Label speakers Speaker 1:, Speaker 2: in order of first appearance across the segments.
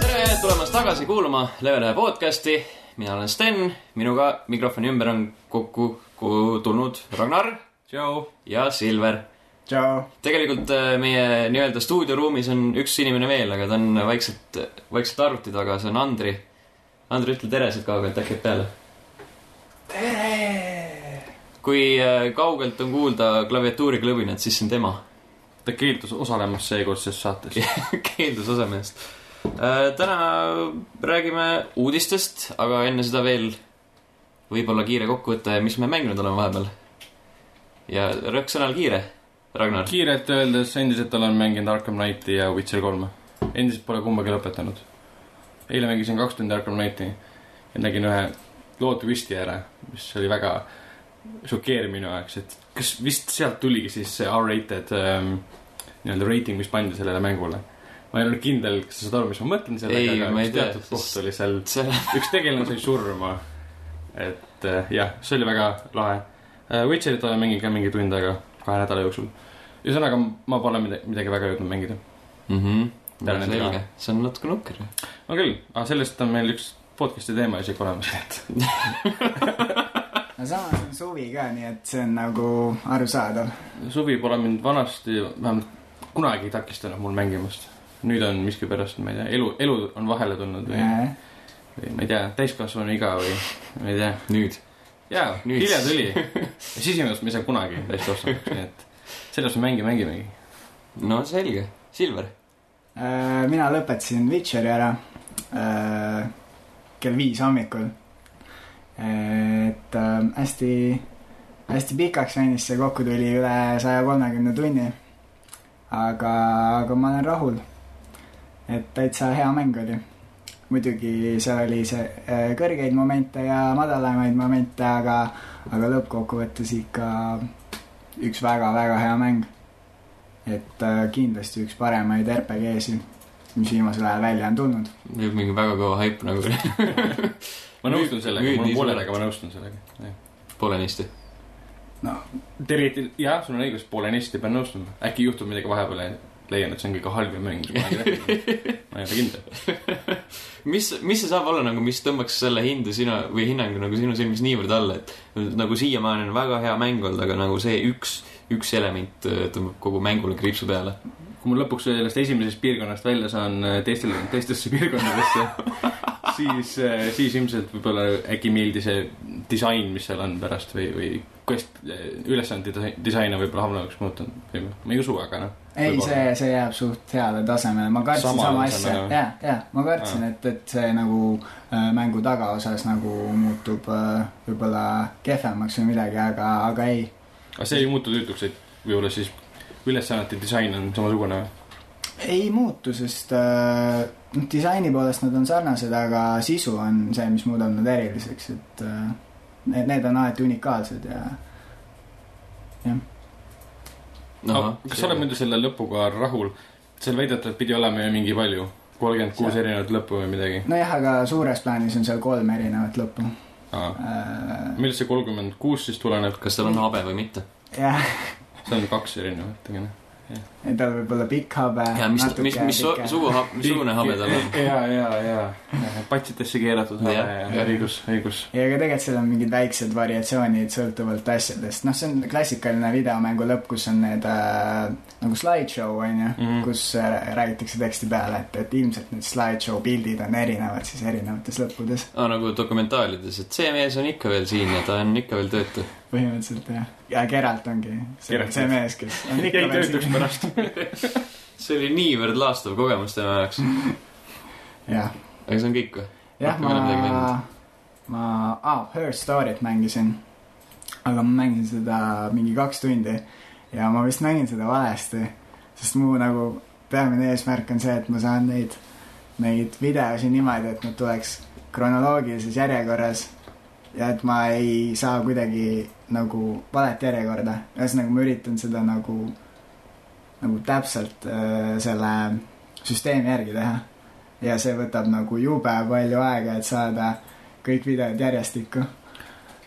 Speaker 1: tere tulemast tagasi kuulama Level ühe podcasti . mina olen Sten , minuga mikrofoni ümber on kokku ku- tulnud Ragnar
Speaker 2: tšau .
Speaker 1: ja Silver .
Speaker 3: tšau .
Speaker 1: tegelikult äh, meie nii-öelda stuudioruumis on üks inimene veel , aga ta on vaikselt , vaikselt arvuti taga , see on Andri . Andri , ütle tere sealt kaugelt , äkki jääb peale . tere . kui äh, kaugelt on kuulda klaviatuuri klõbinat , siis see on tema
Speaker 2: ta keeldus osalemast seekord ses saates .
Speaker 1: keeldus osameest . Äh, täna räägime uudistest , aga enne seda veel võib-olla kiire kokkuvõte , mis me mänginud oleme vahepeal . ja rõhk sõnal kiire , Ragnar .
Speaker 2: kiirelt öeldes endiselt olen mänginud Arkham Knighti ja Witcher kolme . endiselt pole kumbagi lõpetanud . eile mängisin kaks tundi Arkham Knighti ja nägin ühe loo twisti ära , mis oli väga šokeeriv minu jaoks , et kas vist sealt tuligi siis see R-rated ähm, nii-öelda reiting , mis pandi sellele mängule . ma ei olnud kindel , kas sa saad aru , mis ma mõtlen sellega ,
Speaker 1: Ei,
Speaker 2: aga
Speaker 1: ma ei
Speaker 2: üks
Speaker 1: tea,
Speaker 2: teatud
Speaker 1: sest-
Speaker 2: koht oli seal
Speaker 1: selle ,
Speaker 2: üks tegelane sai surma . et äh, jah , see oli väga lahe äh, . Witcherit olen mänginud ka mingi tund aega kahe nädala jooksul . ühesõnaga , ma pole midagi, midagi väga jõudnud mängida . Tänan, et
Speaker 1: selge
Speaker 2: ka. ,
Speaker 1: see on natuke nukker .
Speaker 2: on küll , aga sellest on meil üks podcast'i teema isegi olemas , et
Speaker 3: no samas on suvi ka , nii et see on nagu arusaadav .
Speaker 2: suvi pole mind vanasti , vähemalt kunagi takistanud mul mängimast . nüüd on miskipärast , ma ei tea , elu , elu on vahele tulnud või , või ma ei tea , täiskasvanu iga või ma ei tea .
Speaker 1: nüüd .
Speaker 2: jaa ,
Speaker 1: Nüüd.
Speaker 2: hilja tuli . sisimas me ei saa kunagi täiskasvanuks , nii et selles me mängi , mängimegi .
Speaker 1: no selge , Silver .
Speaker 3: Äh, mina lõpetasin Witcheri ära äh, kell viis hommikul . et äh, hästi , hästi pikaks venis see kokku tuli üle saja kolmekümne tunni . aga , aga ma olen rahul . et täitsa hea mäng oli . muidugi seal oli see äh, kõrgeid momente ja madalamaid momente , aga , aga lõppkokkuvõttes ikka üks väga-väga hea mäng . et äh, kindlasti üks paremaid RPG-sid , mis viimasel ajal välja on tulnud .
Speaker 1: nüüd mingi väga kõva haip nagu
Speaker 2: ma nõustun sellega ,
Speaker 1: müüd
Speaker 2: mul on
Speaker 1: nii
Speaker 2: pole ,
Speaker 1: suurelt.
Speaker 2: aga ma nõustun sellega .
Speaker 1: poolenisti .
Speaker 2: terviti , jah , sul on õigus , poolenisti pean nõustuma . äkki juhtub midagi vahepeal ja leian , et see on kõige halvem mäng , mis ma kunagi nägin . ma ei ole kindel .
Speaker 1: mis , mis see saab olla nagu , mis tõmbaks selle hinde sina või hinnangu nagu sinu silmis niivõrd alla , et nagu siiamaani on väga hea mäng olnud , aga nagu see üks , üks element äh, tõmbab kogu mängule kriipsu peale .
Speaker 2: kui ma lõpuks sellest esimesest piirkonnast välja saan äh, teistele , teistesse piirkondadesse , siis , siis ilmselt võib-olla äkki ei meeldi see disain , mis seal on pärast või , või quest , ülesande disa- disain on võib-olla halvemaks muutunud . ma ei usu , aga noh .
Speaker 3: ei ,
Speaker 2: Võib-olla.
Speaker 3: see , see jääb suht heale tasemele , ma kartsin
Speaker 2: Sama
Speaker 3: sama, sama asja
Speaker 2: tasemele või? ,
Speaker 3: ja , ja ma kartsin , et , et see nagu äh, mängu tagaosas nagu muutub äh, võib-olla kehvemaks või midagi , aga , aga ei .
Speaker 2: aga see ei muutu tüütuks , et võib-olla siis ülesannete disain on samasugune või ?
Speaker 3: ei muutu , sest äh, noh, disaini poolest nad on sarnased , aga sisu on see , mis muudab nad eriliseks , et äh, need , need on alati unikaalsed ja
Speaker 1: Noh,
Speaker 2: no, kas sa oled muidu selle lõpuga rahul ? seal väidetavalt pidi olema ju mingi palju , kolmkümmend kuus
Speaker 3: Seal-
Speaker 2: erinevat lõppu või midagi .
Speaker 3: nojah , aga suures plaanis on seal kolm erinevat lõppu äh, .
Speaker 2: millest see kolmkümmend kuus siis tuleneb ?
Speaker 1: kas tal on habe või mitte ?
Speaker 3: jah ,
Speaker 2: see on kaks erinevat , aga noh .
Speaker 3: tal võib olla pikk habe .
Speaker 1: ja mis , mis , mis su- sugu , missugune habe tal on ??
Speaker 2: ja , ja , ja patsitesse keeratud habe
Speaker 1: Jah,
Speaker 2: ja
Speaker 1: jah.
Speaker 2: õigus , õigus .
Speaker 3: ja ka tegelikult seal on mingid väiksed variatsioonid sõltuvalt asjadest , noh , see on klassikaline videomängu lõpp , kus on need äh, nagu slideshow on ju mm ,
Speaker 2: Mhm.
Speaker 3: -hmm. kus äh, räägitakse teksti peale , et , et ilmselt need slideshow pildid on erinevad siis erinevates lõppudes
Speaker 1: Ah, nagu dokumentaalides , et see mees on ikka veel siin ja ta on ikka veel töötu .
Speaker 3: põhimõtteliselt jah . ja Geralt ongi see,
Speaker 2: Geralt.
Speaker 3: see mees , kes on ikka
Speaker 2: jäi
Speaker 3: veel
Speaker 2: töötuks
Speaker 3: siin .
Speaker 2: pärast .
Speaker 1: see oli niivõrd laastav kogemus tema jaoks .
Speaker 3: jah ,
Speaker 1: aga see on kõik või ?
Speaker 3: jah ,
Speaker 1: Rohkem ei ole midagi
Speaker 3: ma
Speaker 1: mänginud. ,
Speaker 3: ma ah, , Her Story't mängisin , aga ma mängisin seda mingi kaks tundi ja ma vist mängin seda valesti , sest mu nagu peamine eesmärk on see , et ma saan neid , neid videosi niimoodi , et nad tuleks kronoloogilises järjekorras ja et ma ei saa kuidagi nagu valet järjekorda , ühesõnaga ma üritan seda nagu , nagu täpselt äh, selle süsteemi järgi teha . ja see võtab nagu jube palju aega , et saada kõik videod järjestikku .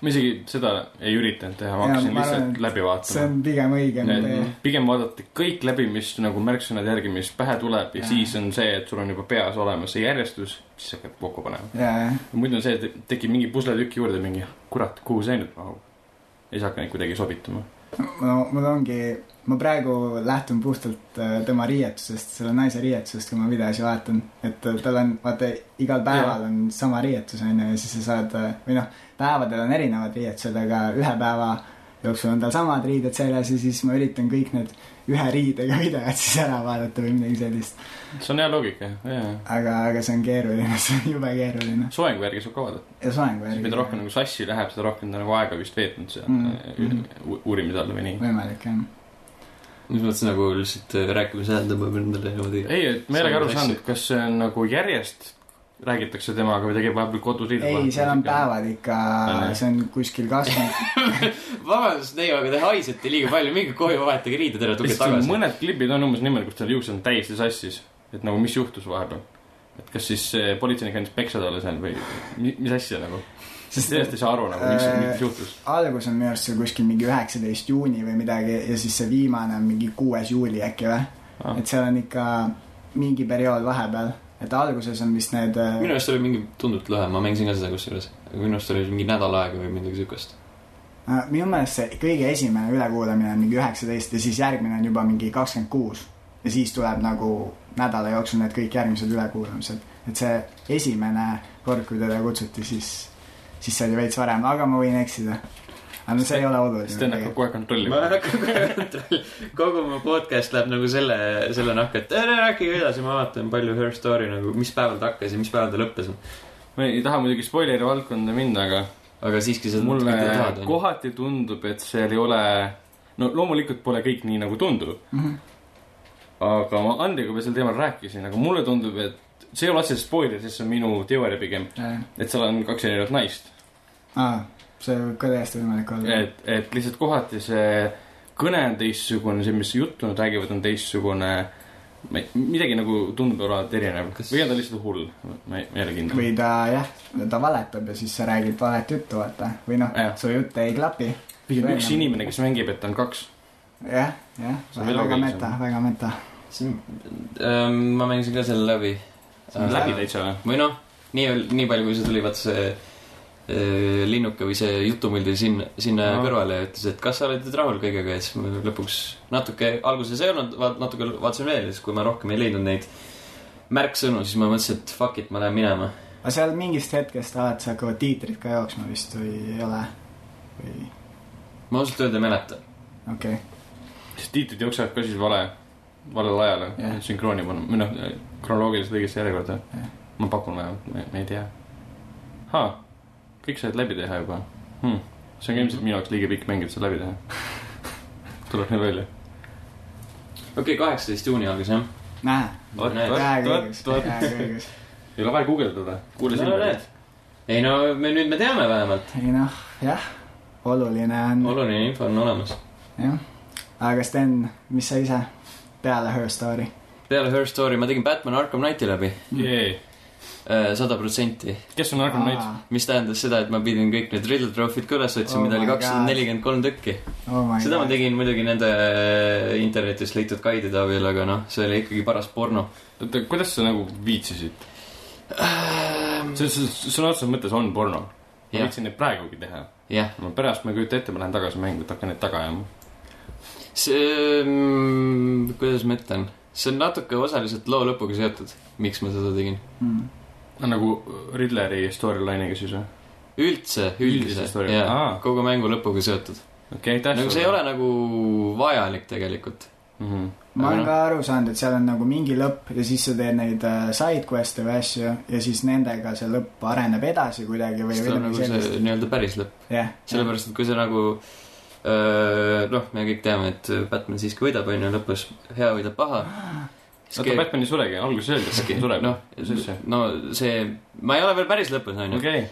Speaker 2: ma isegi seda ei üritanud teha , ma
Speaker 3: Jaa,
Speaker 2: hakkasin
Speaker 3: ma arvan,
Speaker 2: lihtsalt
Speaker 3: et
Speaker 2: läbi
Speaker 3: see
Speaker 2: vaatama .
Speaker 3: on pigem õigem
Speaker 2: Need-
Speaker 3: tee .
Speaker 2: pigem vaadata kõik läbi , mis nagu märksõnad järgi , mis pähe tuleb ja
Speaker 3: Jaa.
Speaker 2: siis on see , et sul on juba peas olemas see järjestus , siis hakkad kokku panema .
Speaker 3: jaa ,
Speaker 2: muidu on see , et tekib mingi pusletükk juurde mingi , kurat , kuhu see nüüd mahub . ja siis hakkan neid kuidagi sobituma .
Speaker 3: no mul ongi , ma praegu lähtun puhtalt äh, tema riietusest , selle naise riietusest , kui ma videosi vaatan , et äh, tal on , vaata igal päeval on sama riietus onju ja siis sa saad äh, või noh , päevadel on erinevad riietused , aga ühe päeva jooksul on tal samad riided seljas ja siis ma üritan kõik need ühe riidega videod siis ära vaadata või midagi sellist .
Speaker 2: see on hea loogika , jah .
Speaker 3: aga , aga see on keeruline , see on jube keeruline .
Speaker 2: soengu järgi saab ka vaadata .
Speaker 3: ja soeng värgi .
Speaker 2: mida rohkem nagu sassi läheb , seda rohkem ta nagu aega vist veetnud seal
Speaker 3: Mm,
Speaker 2: mm. uurimise all või nii .
Speaker 3: võimalik jah .
Speaker 1: mis mõttes nagu lihtsalt äh, rääkimise hääl tõmbab endale niimoodi .
Speaker 2: ei , et ma ei olegi aru
Speaker 1: Sassi.
Speaker 2: saanud , kas see on nagu järjest räägitakse temaga või ta käib vahepeal kodus
Speaker 3: ei , seal on . päevad ikka
Speaker 2: Ah, jah. ,
Speaker 3: see on kuskil kakskümmend
Speaker 1: vabandust , Neiu , aga te haisete liiga palju , minge koju , vahetage riided ära , tulge
Speaker 2: lihtsalt
Speaker 1: tagasi .
Speaker 2: mõned klipid on umbes niimoodi , kus tal juuksed on täiesti sassis . et nagu , mis juhtus vahepeal . et kas siis see politseinik andis peksa talle seal või mi- mis asja nagu .
Speaker 3: Sest-
Speaker 2: sellest ei saa aru nagu , mis ,
Speaker 3: Äh,
Speaker 2: mis juhtus .
Speaker 3: algus on minu arust seal kuskil mingi üheksateist juuni või midagi ja siis see viimane on mingi kuues juuli äkki või ? et seal on ikka mingi periood vahepeal , et alguses on vist need äh,
Speaker 1: minu arust oli mingi tunduvalt lühem , ma mängisin ka seda kusjuures , aga minu arust oli mingi nädal aega või midagi siukest .
Speaker 3: Äh, minu meelest see kõige esimene ülekuulamine on mingi üheksateist ja siis järgmine on juba mingi kakskümmend kuus ja siis tuleb nagu nädala jooksul need kõik järgmised ülekuulamised , et see esimene kord , kui teda kutsuti , siis , siis see oli veits varem , aga ma võin eksida . aga no see ei ole
Speaker 2: siis ta hakkab
Speaker 3: oluline .
Speaker 2: kohe kontrollima
Speaker 1: ma . hakkan kogu mu podcast läheb nagu selle , selle nahka , et ära rääkige edasi , ma vaatan palju Her Story nagu , mis päeval ta hakkas ja mis päeval ta lõppes .
Speaker 2: ma ei taha muidugi spoileri valdkonda minna , aga
Speaker 1: aga siiski sa
Speaker 2: mulle kohati tundub , et seal ei ole , no loomulikult pole kõik nii , nagu tundub .
Speaker 3: Mhm.
Speaker 2: aga ma Andriga juba sel teemal rääkisin , aga mulle tundub , et see ei ole otseselt spoiler , sest see on minu teooria pigem , et seal on kaks erinevat naist .
Speaker 3: aa , see võib ka täiesti võimalik olla .
Speaker 2: et , et lihtsalt kohati see kõne on teistsugune , see , mis juttu nad räägivad , on teistsugune . midagi nagu tundub olevat erinev
Speaker 1: Kas-
Speaker 2: või on ta lihtsalt hull , ma ei , ma ei ole kindel .
Speaker 3: või ta jah , ta valetab ja siis sa räägid valet juttu , vaata , või noh
Speaker 2: Jah. ,
Speaker 3: su jutt ei klapi .
Speaker 2: pigem üks inimene , kes mängib , et on kaks .
Speaker 3: jah , jah ,
Speaker 2: See on veel
Speaker 3: väga
Speaker 2: loogilisem.
Speaker 3: meta , väga meta .
Speaker 1: ähm, ma mängisin ka selle läbi .
Speaker 3: on Äh,
Speaker 2: läbi täitsa või ?
Speaker 1: või noh , nii , nii palju , kui see tuli , vaata see äh, linnuke või see jutumõldi sinna , sinna
Speaker 2: Aa.
Speaker 1: no. kõrvale ja ütles , et kas sa oled nüüd rahul kõigega ja siis ma lõpuks natuke , alguses ei olnud , vaat natuke vaatasin veel ja siis , kui ma rohkem ei leidnud neid märksõnu , siis ma mõtlesin , et fuck it , ma lähen minema .
Speaker 3: aga seal mingist hetkest alates hakkavad tiitrid ka jooksma vist või ei ole ? või
Speaker 1: ma ausalt öelda ei mäleta .
Speaker 3: okei okay. ,
Speaker 2: siis tiitrid jooksevad ka siis vale , valel ajal
Speaker 3: Jah.
Speaker 2: yeah. sünkrooni panna , või noh , kronoloogiliselt õigesse järjekorda
Speaker 3: Jah.
Speaker 2: yeah. . ma pakun vähemalt , ma ei tea . kõik said läbi teha juba hmm. . see on ka
Speaker 1: Mhm.
Speaker 2: ilmselt minu jaoks liiga pikk mäng , et seda läbi teha . tuleb nii välja .
Speaker 1: okei okay, , kaheksateist juuni algas jah .
Speaker 3: näe ,
Speaker 1: Vot, vot,
Speaker 3: peaaegu õigus ,
Speaker 2: vot.
Speaker 3: peaagu õigus .
Speaker 2: ei ole vaja guugeldada , kuule
Speaker 1: No,
Speaker 2: silma
Speaker 1: näed. . ei no me nüüd me teame vähemalt ,
Speaker 3: ei noh , jah , oluline on ,
Speaker 1: oluline info on olemas .
Speaker 3: jah . aga Sten , mis sa ise peale Her Story ?
Speaker 1: peale Her Story ma tegin Batman Arkham Knighti läbi äh, sada protsenti ,
Speaker 2: kes on Arkham Knight ?
Speaker 1: mis tähendas seda , et ma pidin kõik need riddle trofid üles otsima
Speaker 3: Oh
Speaker 1: oh , mida oli
Speaker 3: my
Speaker 1: kakssada nelikümmend kolm tükki .
Speaker 3: oh my
Speaker 1: seda ma
Speaker 3: god ,
Speaker 1: tegin muidugi nende internetist leitud gaidide abil , aga noh , see oli ikkagi paras porno .
Speaker 2: oota , kuidas sa nagu viitsisid ?
Speaker 3: Ähm.
Speaker 2: see , see , sõna otseses mõttes on porno . ma
Speaker 1: Jah.
Speaker 2: võiksin neid praegugi teha .
Speaker 1: jah ,
Speaker 2: ma pärast ma ei kujuta ette , ma lähen tagasi mängu , et hakkan neid taga ajama .
Speaker 1: see , kuidas ma ütlen , see on natuke osaliselt loo lõpuga seotud , miks ma seda tegin .
Speaker 3: Mm.
Speaker 2: nagu Ridleri storyline'iga siis või ?
Speaker 1: üldse ,
Speaker 2: Üldise
Speaker 1: üldise ,
Speaker 2: story-
Speaker 1: jaa
Speaker 2: aa. ,
Speaker 1: kogu mängu lõpuga seotud .
Speaker 2: okei , aitäh
Speaker 1: nagu see ei ole nagu vajalik tegelikult .
Speaker 2: mm . -hmm.
Speaker 3: ma
Speaker 1: Aga
Speaker 3: olen
Speaker 1: noh.
Speaker 3: ka aru saanud , et seal on nagu mingi lõpp ja siis sa teed neid äh, side quest'e või asju ja siis nendega see lõpp areneb edasi kuidagi või
Speaker 1: see on nagu
Speaker 3: midagi sellist .
Speaker 1: see nii-öelda päris lõpp ,
Speaker 3: jah ,
Speaker 1: sellepärast et kui see nagu öö, noh , me kõik teame , et Batman siiski võidab , on ju , lõpus hea võidab paha .
Speaker 2: oota , Batman ei suregi , alguses öeldi , et Batman sureb .
Speaker 1: noh , no see , ma ei ole veel päris lõpus , onju .
Speaker 2: okei ,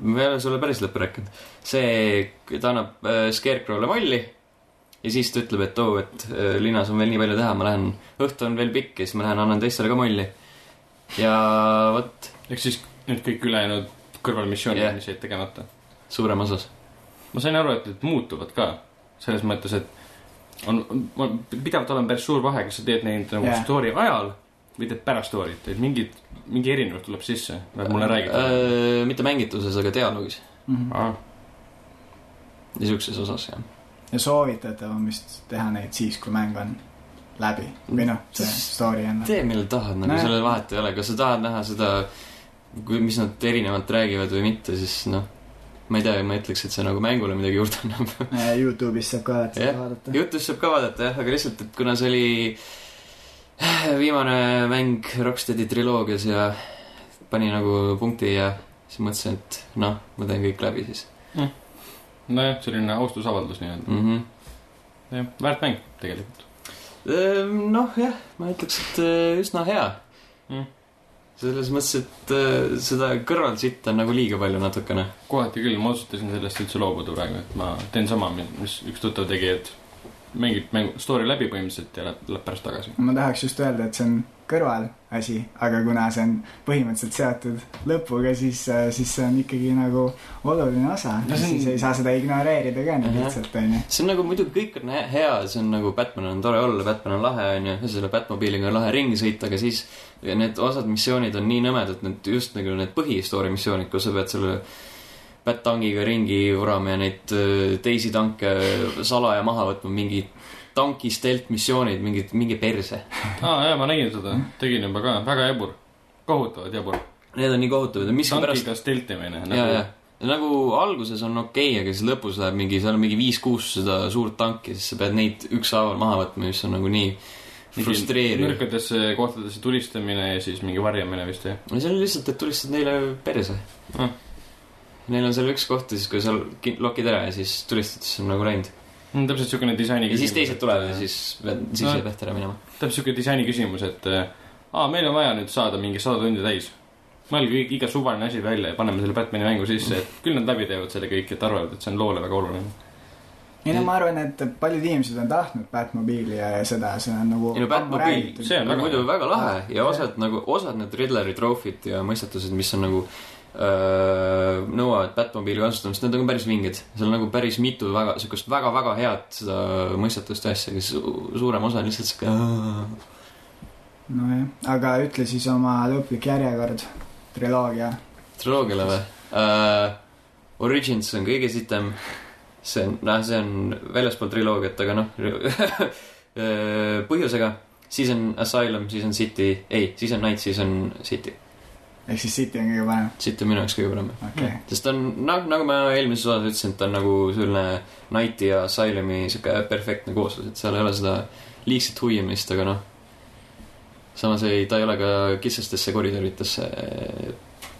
Speaker 1: ma ei ole sulle päris lõppu rääkinud . see , ta annab äh, Scarecrow'le molli ja siis ta ütleb , et oo , et äh, linnas on veel nii palju teha , ma lähen , õhtu on veel pikk ja siis ma lähen annan teistele ka molli . ja vot ,
Speaker 2: ehk siis nüüd kõik ülejäänud kõrvalmissioonid
Speaker 1: Jah.
Speaker 2: yeah. , mis jäid tegemata .
Speaker 1: suurem osas .
Speaker 2: ma sain aru , et need muutuvad ka selles mõttes , et on, on , pidevalt olema päris suur vahe , kas sa teed neid nagu
Speaker 3: Jaa.
Speaker 2: yeah. story ajal või teed pärast story't , et mingid , mingi erinevus tuleb sisse , nagu mulle räägitakse
Speaker 1: äh, . mitte mängituses , aga dialoogis ,
Speaker 3: mm . -hmm.
Speaker 2: äh, .
Speaker 1: niisuguses osas jah .
Speaker 3: ja soovitatav on vist teha neid siis , kui mäng on läbi või noh , see story on .
Speaker 1: tee millal tahad , nagu
Speaker 3: Näe.
Speaker 1: sellel vahet ei ole , kas sa tahad näha seda , kui , mis nad erinevalt räägivad või mitte , siis noh , ma ei tea , ma ütleks , et see nagu mängule midagi juurde annab .
Speaker 3: Youtube'is saab ka alati
Speaker 1: Jah.
Speaker 3: seda vaadata .
Speaker 1: jutust saab ka vaadata jah , aga lihtsalt , et kuna see oli viimane mäng Rocksteadi triloogias ja pani nagu punkti ja siis mõtlesin , et noh , ma teen kõik läbi siis
Speaker 2: nojah , selline austusavaldus nii-öelda
Speaker 1: mm . -hmm.
Speaker 2: mm. . väärt mäng tegelikult .
Speaker 1: Ehm, Noh , jah , ma ütleks , et eh, üsna hea
Speaker 2: Mm.
Speaker 1: selles mõttes , et eh, seda kõrvalsitta on nagu liiga palju natukene .
Speaker 2: kohati küll , ma otsustasin sellest üldse loobuda praegu , et ma teen sama , mis üks tuttav tegi , et mängib mängu , story läbi põhimõtteliselt ja läheb , läheb pärast tagasi .
Speaker 3: ma tahaks just öelda , et see on kõrvalasi , aga kuna see on põhimõtteliselt seotud lõpuga , siis , siis see on ikkagi nagu oluline osa
Speaker 2: No
Speaker 3: no, .
Speaker 2: see on-
Speaker 3: siis ei saa seda ignoreerida ka nii
Speaker 1: Jah.
Speaker 3: lihtsalt , onju .
Speaker 1: see on nagu muidugi kõik on hea- hea , see on nagu Batman on tore olla , Batman on lahe onju , selle Batmobiiliga on lahe ringi sõita , aga siis need osad missioonid on nii nõmedad , need just nagu need põhistoori missioonid , kus sa pead selle Bat-tangiga ringi vurama ja neid eh, teisi tanke salaja maha võtma , mingi tanki stealth missioonid , mingid , mingi perse .
Speaker 2: aa jaa , ma nägin seda ,
Speaker 1: Mhm.
Speaker 2: tegin juba ka , väga jabur , kohutavalt jabur .
Speaker 1: Need on nii kohutavad ja miskipärast
Speaker 2: tankiga stiltimine
Speaker 1: ja , ja , nagu alguses on okei okay, , aga siis lõpus läheb mingi , seal on mingi viis-kuus seda suurt tanki , siis sa pead neid ükshaaval maha võtma , mis on nagu nii frustreeriv .
Speaker 2: nõrkadesse kohtadesse tulistamine ja siis mingi varjamine vist jah .
Speaker 1: no see on lihtsalt , et tulistad neile perse
Speaker 2: Ah.
Speaker 1: mm. . Neil on seal üks koht ja siis , kui seal ki- lokid ära ja siis tulistad , siis on nagu läinud .
Speaker 2: Hmm, täpselt siukene disaini
Speaker 1: ja siis teised tulevad ja
Speaker 2: siis .
Speaker 1: siis , siis
Speaker 2: No.
Speaker 1: ei peaks ära minema .
Speaker 2: täpselt siuke disaini küsimus , et äh, aa , meil on vaja nüüd saada mingi sada tundi täis . mõelge kõik- iga suvaline asi välja ja paneme selle Batman'i mängu sisse , et küll nad läbi teevad selle kõik , et arvavad , et see on loole väga oluline .
Speaker 3: ei no ma arvan , et paljud inimesed on tahtnud Batmobiili ja ja seda , see on nagu
Speaker 1: ei no Batmobiil ,
Speaker 3: räägitud.
Speaker 1: see on
Speaker 2: väga-
Speaker 1: muidu väga lahe ja osad nagu , osad need Riddleri troofid ja mõistatused , mis on nagu öö, nõuavad Batmobiili kasutamist , need on ka päris vinged . seal on nagu päris mitu väga , niisugust väga-väga head seda mõistatust ja asja , kes suurem osa on lihtsalt sihuke
Speaker 3: nojah , aga ütle siis oma lõplik järjekord , triloogia .
Speaker 1: triloogiale või uh, ? Origins on kõige sitem , see on , noh , see on väljaspool triloogiat , aga noh põhjusega , siis on Asylum , siis on City , ei , siis on Night , siis on City .
Speaker 3: ehk siis City on kõige parem ,
Speaker 1: City on minu jaoks kõige parem .
Speaker 3: okei okay. .
Speaker 1: sest ta on nagu , nagu ma eelmises osas ütlesin , et ta on nagu selline Knighti ja Asylumi sihuke perfektne kooslus , et seal ei ole seda liigset huiamist , aga noh . samas ei , ta ei ole ka kitsastesse koridoridesse eh,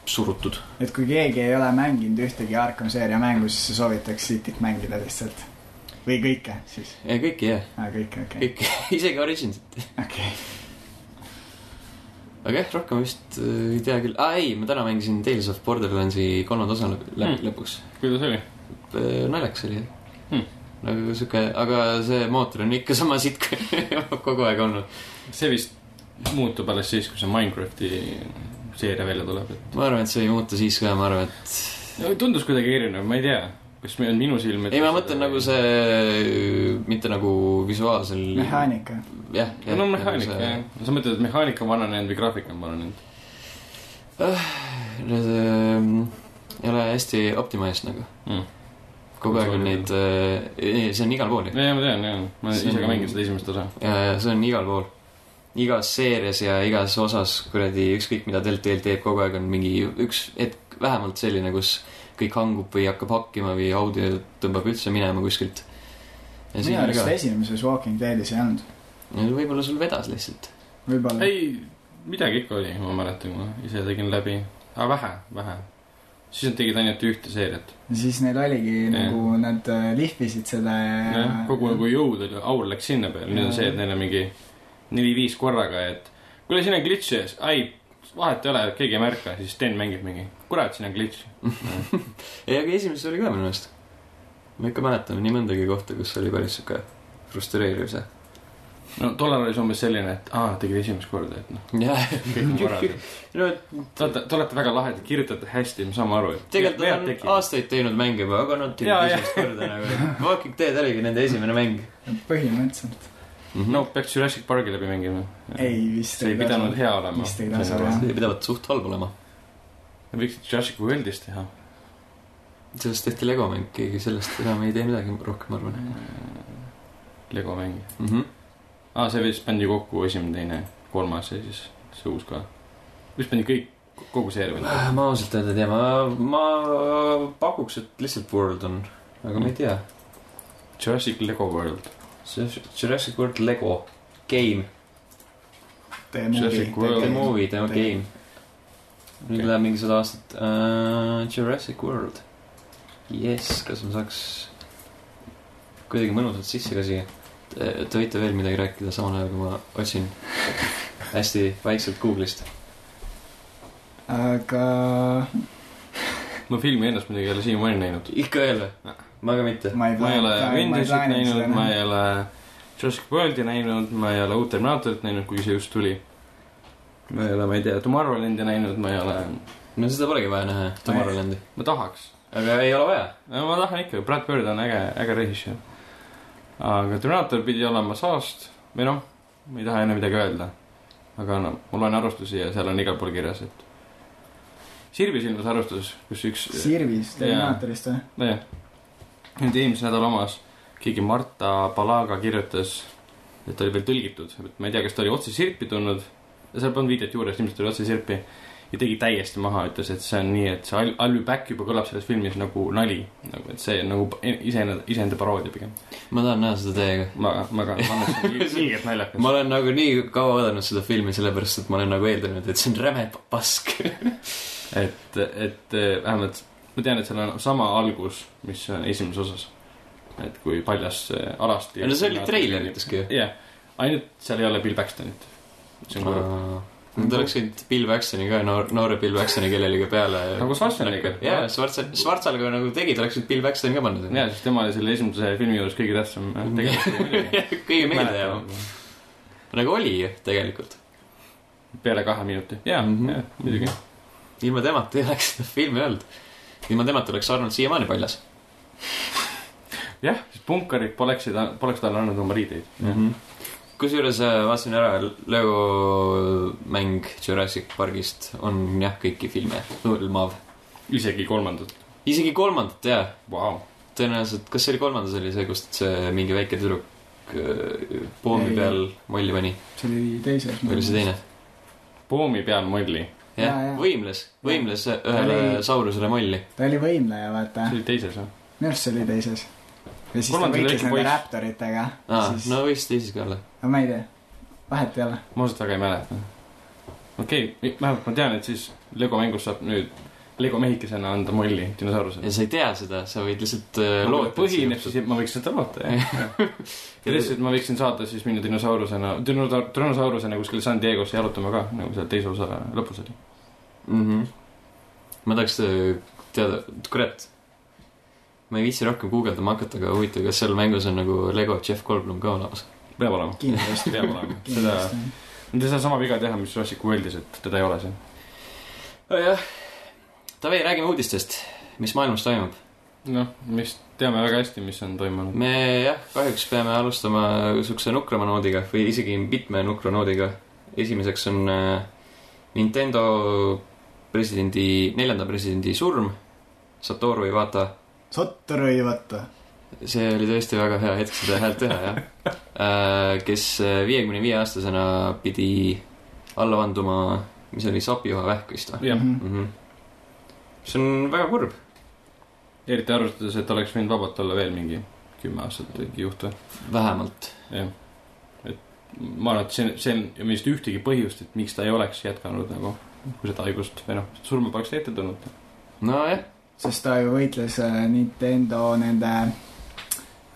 Speaker 1: surutud .
Speaker 3: et kui keegi ei ole mänginud ühtegi Arkham seeria mängu , siis sa soovitaks Cityt mängida lihtsalt . või kõike siis ,
Speaker 1: kõiki jah ,
Speaker 3: kõike , okei ,
Speaker 1: kõiki , isegi Originsit .
Speaker 3: okei .
Speaker 1: aga jah , rohkem vist eh, ei tea küll . aa ei , ma täna mängisin Tales of Borderlandsi kolmanda osa lõp
Speaker 2: Hmm.
Speaker 1: hmm. lõpuks .
Speaker 2: kuidas oli ?
Speaker 1: naljakas oli
Speaker 2: Hmm.
Speaker 1: hmm. . nagu sihuke , aga see mootor on ikka sama sitt kui kogu aeg olnud .
Speaker 2: see vist muutub alles siis , kui see Minecrafti seeria välja tuleb , et
Speaker 1: ma arvan , et see ei muutu siis ka , ma arvan , et
Speaker 2: No tundus kuidagi erinev , ma ei tea , kas meil on minu silm .
Speaker 1: ei , ma mõtlen nagu . see , mitte nagu visuaalsel .
Speaker 3: mehaanika .
Speaker 1: jah , jah . nagu
Speaker 2: no mehaanika see... jah , sa mõtled , et mehaanika on vananenud või graafik on vananenud ?
Speaker 1: Need ähm, ei ole hästi optimised nagu
Speaker 2: Mm.
Speaker 1: mm. . kogu aeg on neid äh, , see on igal pool ju .
Speaker 2: jaa , ma tean , jaa , ma
Speaker 1: See
Speaker 2: ise ka
Speaker 1: on-
Speaker 2: mängin seda esimest osa .
Speaker 1: ja , ja see on igal pool . igas seerias ja igas osas kuradi ükskõik mida Deltail teeb , kogu aeg on mingi üks hetk vähemalt selline , kus kõik hangub või hakkab hakkima või audio tõmbab üldse minema kuskilt . ja siin oli
Speaker 3: minu arust
Speaker 1: ka .
Speaker 3: esimeses Walking Deadis ei olnud ,
Speaker 1: võib-olla sul vedas lihtsalt .
Speaker 3: võib-olla .
Speaker 2: ei , midagi ikka oli , ma mäletan , ma ise tegin läbi , aga vähe , vähe . siis nad tegid ainult ühte seeriat ,
Speaker 3: siis neil oligi
Speaker 2: Jah.
Speaker 3: nagu nad äh, lihvisid seda ja
Speaker 2: jah , kogu nagu jõud oli , aur läks sinna peale , nüüd on see , et neil on mingi neli-viis korraga , et kuule , siin on glitch ees , ai , vahet ei ole , keegi ei märka , siis Sten mängib mingi , kurat , siin on glitch .
Speaker 1: ei , aga esimeses oli ka minu meelest . ma ikka mäletan nii mõndagi kohta , kus oli päris sihuke frustreeriv see .
Speaker 2: no tollal oli see umbes selline , et aa , tegid esimest korda , et noh ,
Speaker 1: jah ,
Speaker 2: kõik on korras .
Speaker 1: no
Speaker 2: Te olete , te olete väga lahedad , kirjutate hästi , me saame aru , et
Speaker 1: tegelikult nad on . aastaid teinud mänge juba , aga nad tegid
Speaker 2: Jaa, jah.
Speaker 1: esimest korda nagu . Walking Dead oligi nende esimene mäng .
Speaker 3: põhimõtteliselt .
Speaker 2: no peaks Jurassic Parki läbi mängima .
Speaker 3: ei vist
Speaker 2: see ei pidanud . hea olema .
Speaker 3: Vist ei tasu, jah.
Speaker 1: see pidavat suht halb olema .
Speaker 2: võiksid Jurassic Worldis teha .
Speaker 1: sellest tehti legomäng , keegi sellest enam ei tee midagi rohkem , ma
Speaker 3: Mm.
Speaker 1: arvan
Speaker 2: Lego mängi .
Speaker 1: mm . -hmm.
Speaker 2: aa , see vist pandi kokku esimene , teine , kolmas ja siis see uus ka . vist pandi kõik , kogu seeria .
Speaker 1: Ah, ma ausalt öelda ei tea , ma , ma pakuks , et lihtsalt World on , aga ma ei tea .
Speaker 2: Jurassic Lego World .
Speaker 1: see Jurassic World Lego game ,
Speaker 3: The
Speaker 2: Jurassic World
Speaker 1: the
Speaker 2: Game.
Speaker 3: movie .
Speaker 1: movie , the
Speaker 3: Game.
Speaker 1: game . nüüd
Speaker 2: Okei.
Speaker 1: läheb mingi sada aastat uh, . Jurassic World . jess , kas ma saaks kuidagi mõnusalt sisse ka siia ? Te võite veel midagi rääkida samal ajal , kui ma otsin hästi vaikselt Google'ist .
Speaker 3: aga
Speaker 2: ma filmi ennast muidugi ei ole siiamaani näinud .
Speaker 1: ikka veel või ? ma ka mitte .
Speaker 3: ma ei
Speaker 2: ma ei ole
Speaker 3: plaani- ma ei
Speaker 2: Avengersit
Speaker 3: plaaninud
Speaker 2: näinud
Speaker 3: seda ,
Speaker 2: ma
Speaker 3: näha.
Speaker 2: ei ole Jurassic Worldi näinud , ma ei ole uut Terminaatorit näinud , kuigi see just tuli . ma ei ole , ma ei tea , Tomorrowlandi näinud , ma ei ole ,
Speaker 1: no seda polegi vaja näha , Tomorrowlandi .
Speaker 2: ma tahaks .
Speaker 1: aga ei ole vaja .
Speaker 2: no ma tahan ikka , Brad Bird on äge , äge režissöör . aga Terminaator pidi olema saast või noh , ma ei taha enne midagi öelda . aga no ma loen arvustusi ja seal on igal pool kirjas , et Sirvis ilmus arvustus , kus üks ,
Speaker 3: Sirvis , Terminaatorist või ?
Speaker 2: nojah , nüüd eelmise nädala omas keegi Marta Palaga kirjutas , et oli veel tõlgitud , et ma ei tea , kas ta oli otse Sirpi tulnud , seal polnud viidet juures , ilmselt oli otse Sirpi ja tegi täiesti maha , ütles , et see on nii , et see I'll I'll be back juba kõlab selles filmis nagu nali , nagu et see on nagu pa- iseenda , iseenda paroodia pigem .
Speaker 1: ma tahan näha seda teiega .
Speaker 2: ma , ma ka , ma arvan , et see on ilg- ilgelt naljakas
Speaker 1: ma . olen nagu nii kaua oodanud seda filmi , sellepärast et ma olen nagu eeldanud , et see on räme pa- pask .
Speaker 2: et , et eh, vähemalt ma tean , et seal on sama algus , mis on esimeses osas . et kui paljas see alasti .
Speaker 1: no see oli treileriteski ju .
Speaker 2: jah , ainult seal ei ole Bill Paxtonit . see on
Speaker 1: Ah.
Speaker 2: kurb .
Speaker 1: Nad oleks võinud Bill Paxtoni ka , noor , noore Bill Paxtoni kellelegi peale .
Speaker 2: Nagu Schwarzenegger.
Speaker 1: jaa , Schwarzen- , Schwarzenegger nagu tegid , oleks võinud Bill Paxtoni ka panna .
Speaker 2: ja , sest tema oli selle esimese filmi juures kõige tähtsam äh, tegelane .
Speaker 1: kõige meeldejäävam . nagu oli ju tegelikult .
Speaker 2: peale kahe minuti , ja mm ,
Speaker 1: Mhm.
Speaker 2: -hmm. ja muidugi .
Speaker 1: ilma temata ei oleks seda filmi olnud . ilma temata oleks Arnold siiamaani paljas
Speaker 2: jah , siis punkarid poleksid , poleks talle andnud oma riideid mm . -hmm.
Speaker 1: -hmm. kusjuures äh, vaatasin ära , Lego mäng Jurassic Pargist on jah , kõiki filme hõlmav .
Speaker 2: isegi kolmandat ,
Speaker 1: isegi kolmandat jaa ,
Speaker 2: vau .
Speaker 1: tõenäoliselt , kas see oli kolmandas oli see , kust see mingi väike tüdruk äh, pommi
Speaker 3: Ei.
Speaker 1: peal molli pani
Speaker 3: see oli teises .
Speaker 1: või oli see ? teine ?
Speaker 2: poomi peal molli ,
Speaker 1: jah
Speaker 3: Jaa, jaa. ,
Speaker 1: võimles , võimles ühele
Speaker 3: Oli-
Speaker 1: saurusele molli .
Speaker 3: ta oli võimleja , vaata
Speaker 2: see . oli teises või ?
Speaker 3: minu arust see oli teises . ja siis ta
Speaker 2: Kolmandal oli
Speaker 3: võitles
Speaker 2: väike
Speaker 3: nende
Speaker 2: poiss.
Speaker 3: Raptoritega .
Speaker 1: aa ,
Speaker 3: siis
Speaker 1: no võis teises ka olla .
Speaker 3: aga ma ei tea , vahet ei ole .
Speaker 2: ma ausalt väga ei mäleta . okei okay, , vähemalt ma tean , et siis Lego mängus saab nüüd Lego mehikesena anda molli dinosaurusele
Speaker 1: ja . sa ei tea seda , sa võid lihtsalt äh,
Speaker 2: lood
Speaker 1: loota .
Speaker 2: põhineb siis , ma võiks seda loota , jah . ja lihtsalt ma võiksin saada siis minna dinosaurusena , dinosaurusena kuskile San Diego'sse jalutama ka , nagu seal teise osa lõpus oli .
Speaker 1: mm . -hmm. ma tahaks äh, teada , kurat , ma ei viitsi rohkem guugeldama hakata , aga huvitav , kas seal mängus on nagu Lego Jeff Goldblum ka olemas ?
Speaker 2: peab olema ,
Speaker 3: kindlasti .
Speaker 2: peab olema . seda ,
Speaker 3: kindlasti .
Speaker 2: nad ei saa sama viga teha , mis Jurassic Worldis , et teda ei ole seal .
Speaker 1: nojah , Taavi , räägime uudistest , mis maailmas toimub .
Speaker 2: noh , mis teame väga hästi , mis on toimunud .
Speaker 1: me jah , kahjuks peame alustama siukse nukrama noodiga või isegi mitme nukra noodiga . esimeseks on äh, Nintendo presidendi , neljanda presidendi surm , Satoru Iwata
Speaker 3: Sotteru ei võta .
Speaker 1: see oli tõesti väga hea hetk seda häält teha , jah . kes äh, viiekümne viie aastasena pidi alla vanduma , mis oli sapijuhavähk vist või
Speaker 3: Mhm.
Speaker 2: jah ,
Speaker 1: mm ? -hmm. see on väga kurb .
Speaker 2: eriti arvestades , et oleks võinud vabalt olla veel mingi kümme aastat äkki juhtu .
Speaker 1: vähemalt .
Speaker 2: jah , et ma arvan , et see , see on vist ühtegi põhjust , et miks ta ei oleks jätkanud nagu , kui seda haigust või noh , surma poleks ette tulnud .
Speaker 1: nojah ,
Speaker 3: sest ta ju võitles äh, Nintendo nende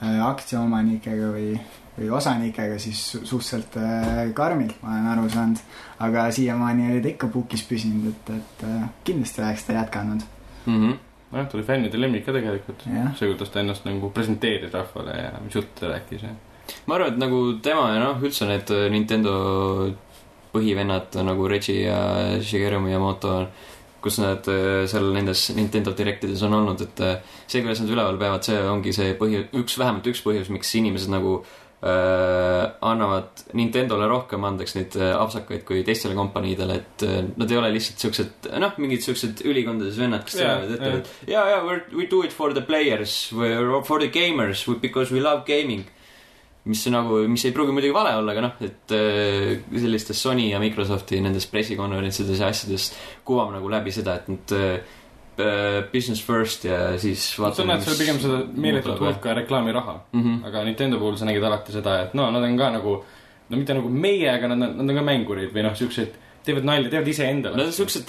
Speaker 3: äh, aktsiaomanikega või , või osanikega siis su- suhteliselt äh, karmilt , ma olen aru saanud . aga siiamaani oli ta ikka pukis püsinud , et , et äh, kindlasti oleks ta jätkanud .
Speaker 1: mm -hmm.
Speaker 2: nojah , ta oli fännide lemmik ka tegelikult .
Speaker 3: jah ,
Speaker 2: see , kuidas ta ennast nagu presenteeris rahvale ja mis jutte rääkis ja
Speaker 1: ma arvan , et nagu tema ja noh , üldse need äh, Nintendo põhivennad nagu Reggie ja Shigeru Miyamoto , kus nad äh, seal nendes Nintendo Directides on olnud , et äh, see , kuidas nad üleval peavad , see ongi see põhi , üks , vähemalt üks põhjus , miks inimesed nagu äh, annavad Nintendole rohkem andeks neid äh, apsakaid kui teistele kompaniidele , et äh, nad ei ole lihtsalt siuksed , noh , mingid siuksed ülikondades vennad , kes
Speaker 2: Jaa,
Speaker 1: tulevad ja ütlevad , jaa , jaa , we do it for the players , we are for the gamers , because we love gaming . mis nagu , mis ei pruugi muidugi vale olla , aga noh , et äh, sellistes Sony ja Microsofti nendes pressikonverentsides ja asjades kuvab nagu läbi seda , et nad äh, business first ja siis
Speaker 2: sa näed seal pigem seda meeletut hulka reklaamiraha ,
Speaker 1: mm . -hmm.
Speaker 2: aga Nintendo puhul sa nägid alati seda , et no nad on ka nagu , no mitte nagu meie , aga nad on , nad on ka mängurid või noh , siuksed , teevad nalja , teevad
Speaker 1: no
Speaker 2: iseendale ,
Speaker 1: siuksed ,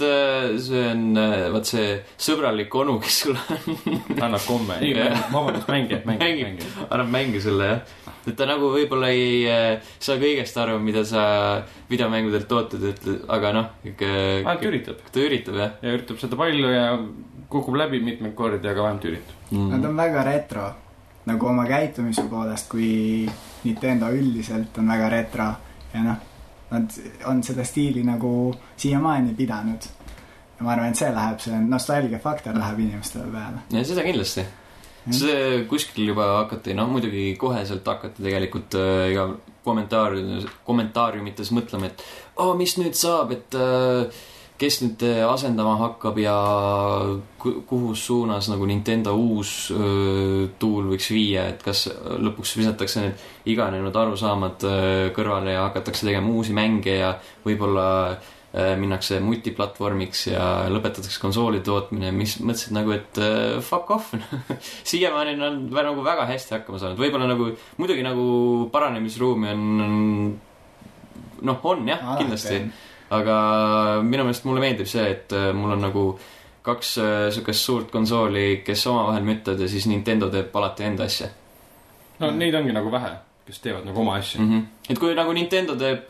Speaker 1: see on äh, vaat see sõbralik onu , kes sulle
Speaker 2: annab komme , ei
Speaker 1: Jah. ,
Speaker 2: vabandust , mängijad , mängijad ,
Speaker 1: Mängib.
Speaker 2: mängijad .
Speaker 1: annab mänge selle jah . et ta nagu võib-olla ei äh, saa kõigest aru , mida sa videomängudelt ootad , et aga noh ,
Speaker 2: ainult
Speaker 1: ikka
Speaker 2: üritab
Speaker 1: ta üritab jah
Speaker 2: ja üritab seda palju ja kukub läbi mitmeid kordi , aga vähemalt üritab .
Speaker 1: Mhm.
Speaker 3: Nad . on väga retro , nagu oma käitumise poolest , kui Nintendo üldiselt on väga retro ja noh , nad on seda stiili nagu siiamaani pidanud . ja ma arvan , et see läheb , see nostalgia faktor läheb inimestele peale .
Speaker 1: ja seda kindlasti . see kuskil juba hakati , noh muidugi koheselt hakati tegelikult äh, iga kommentaariumides , kommentaariumites mõtlema , et oh, mis nüüd saab , et äh, kes nüüd äh, asendama hakkab ja ku- kuhu suunas nagu Nintendo uus öö, tuul võiks viia , et kas lõpuks visatakse need iganenud arusaamad öö, kõrvale ja hakatakse tegema uusi mänge ja võib-olla öö, minnakse multiplatvormiks ja lõpetatakse konsooli tootmine , mis mõtlesid nagu , et öö, fuck off . siiamaani on nad vä- nagu väga hästi hakkama saanud , võib-olla nagu muidugi nagu paranemisruumi on , on noh , on jah , kindlasti aga minu meelest mulle meeldib see , et äh, mul on nagu kaks äh, siukest suurt konsooli , kes omavahel müttavad ja siis Nintendo teeb alati enda asja
Speaker 2: no neid ongi nagu vähe , kes teevad nagu oma asja .
Speaker 1: mm . -hmm. et kui nagu Nintendo teeb ,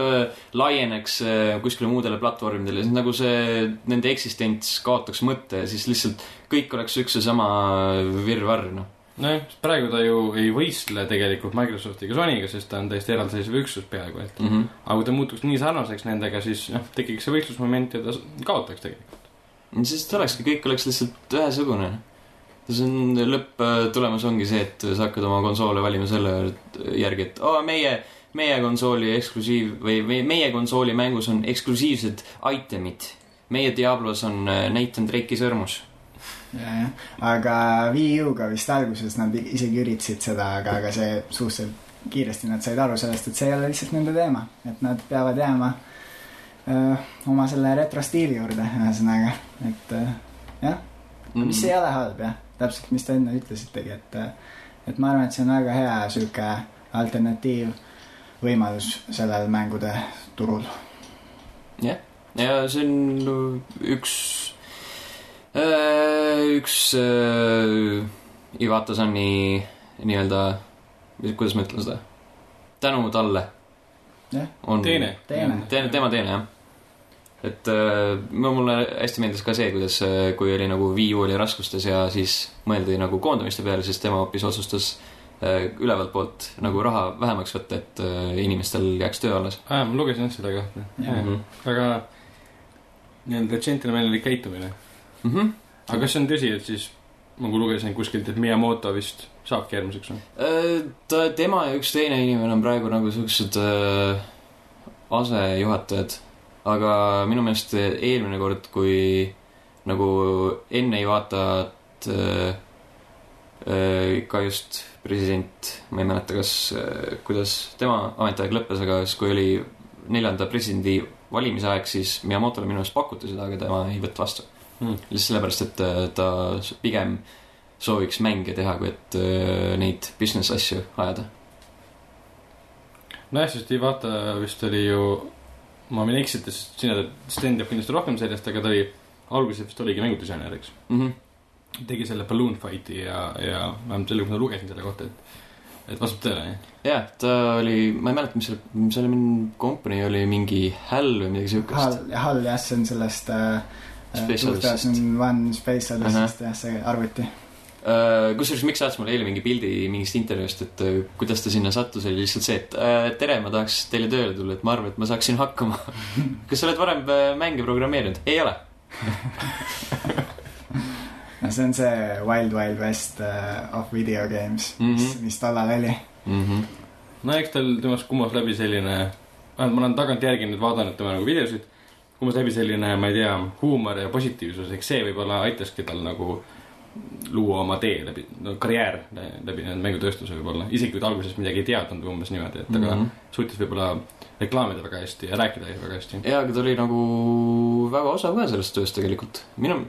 Speaker 1: laieneks äh, kuskile muudele platvormidele , siis nagu see , nende eksistents kaotaks mõtte ja siis lihtsalt kõik oleks üks ja sama virvarr , noh .
Speaker 2: nojah , praegu ta ju ei võistle tegelikult Microsoftiga , Sonyga , sest ta on täiesti eraldiseisev üksus peaaegu , et
Speaker 1: Mhm.
Speaker 2: aga kui ta muutuks nii sarnaseks nendega , siis noh , tekiks see võistlusmoment ja ta s- kaotaks tegelikult .
Speaker 1: siis ta olekski , kõik oleks lihtsalt ühesugune . see on , lõpptulemus ongi see , et sa hakkad oma konsoole valima selle järgi , et aa , meie , meie konsooli eksklusiiv või me- meie konsooli mängus on eksklusiivsed itemid . meie Diablos on äh, Nathan Drake'i sõrmus .
Speaker 3: jajah , aga Wii U-ga vist alguses nad i- isegi üritasid seda , aga , aga see suhteliselt kiiresti nad said aru sellest , et see ei ole lihtsalt nende teema , et nad peavad jääma öö, oma selle retrostiili juurde , ühesõnaga , et öö,
Speaker 1: Mm.
Speaker 3: mis ei ole halb jah , täpselt , mis te enne ütlesitegi , et et ma arvan , et see on väga hea sihuke alternatiiv võimalus sellel mängude turul .
Speaker 1: ja see on üks , üks äh, Iwata Sani nii-öelda , kuidas ma ütlen seda , tänu talle
Speaker 3: Jah. .
Speaker 2: teine .
Speaker 3: Teene.
Speaker 1: teine , tema teine Mm. jah . et äh, no mulle hästi meeldis ka see , kuidas , kui oli nagu Wii U oli raskustes ja siis mõeldi nagu koondamiste peale , siis tema hoopis otsustas äh, ülevalt poolt nagu raha vähemaks võtta , et äh, inimestel jääks töö alles .
Speaker 2: aa , Ah, ma lugesin seda kahte . väga nii-öelda džentelmenlik käitumine .
Speaker 1: Mhm.
Speaker 2: aga kas see on tõsi , et siis ma kui lugesin kuskilt , et Miyamoto vist saabki järgmiseks või ?
Speaker 1: Äh, ta , tema ja üks teine inimene on praegu nagu siuksed äh, asejuhatajad , aga minu meelest eelmine kord , kui nagu enne ei vaata , et äh, äh, ikka just president , ma ei mäleta , kas äh, , kuidas tema ametiaeg lõppes , aga siis , kui oli neljanda presidendi valimise aeg , siis Miyamotole minu meelest pakuti seda , aga tema ei võtnud vastu .
Speaker 2: Hmm.
Speaker 1: lihtsalt sellepärast , et äh, ta s- pigem sooviks mänge teha , kui et äh, neid business asju ajada .
Speaker 2: nojah , sest Ivata vist oli ju , ma võin eksida , sest sina tead , Sten teab kindlasti rohkem sellest , aga ta oli , alguses vist oligi mängudisainer , eks .
Speaker 1: Mhm.
Speaker 2: tegi selle Balloon Fighti ja , ja vähemalt selle , kui ma lugesin selle kohta , et , et vastab tõele , jah .
Speaker 1: jah , ta oli , ma ei mäleta , mis selle , mis selle kompanii oli , mingi häll või midagi siukest .
Speaker 3: Hall , Hall jah , see on sellest äh,
Speaker 1: Space Odyssey'st.
Speaker 3: One Space Odyssey'st jah , see arvuti .
Speaker 1: Äh, kusjuures , miks saatis mulle eile mingi pildi mingist intervjuust , et äh, kuidas ta sinna sattus , oli lihtsalt see , et äh, tere , ma tahaks teile tööle tulla , et ma arvan , et ma saaksin hakkama . kas sa oled varem äh, mänge programmeerinud ? ei ole .
Speaker 3: no see on see Wild Wild West uh, of video games mm ,
Speaker 1: Mhm.
Speaker 3: -hmm. mis, mis tollal oli .
Speaker 1: Mm
Speaker 2: Mhm.
Speaker 1: -hmm.
Speaker 2: no eks tal , temast kumas läbi selline , vähemalt ma olen tagantjärgi nüüd vaadanud tema nagu videosid , kumas läbi selline , ma ei tea , huumor ja positiivsus , eks see võib-olla aitaski tal nagu luua oma tee läbi , no karjäär lä- läbi nende mängutööstuse võib-olla , isegi kui ta alguses midagi ei teadnud umbes niimoodi , et aga mm
Speaker 1: Mhm.
Speaker 2: -hmm. suutis võib-olla reklaamida väga hästi ja rääkida väga hästi .
Speaker 1: jaa , aga ta oli nagu väga osav ka selles töös tegelikult . minu ,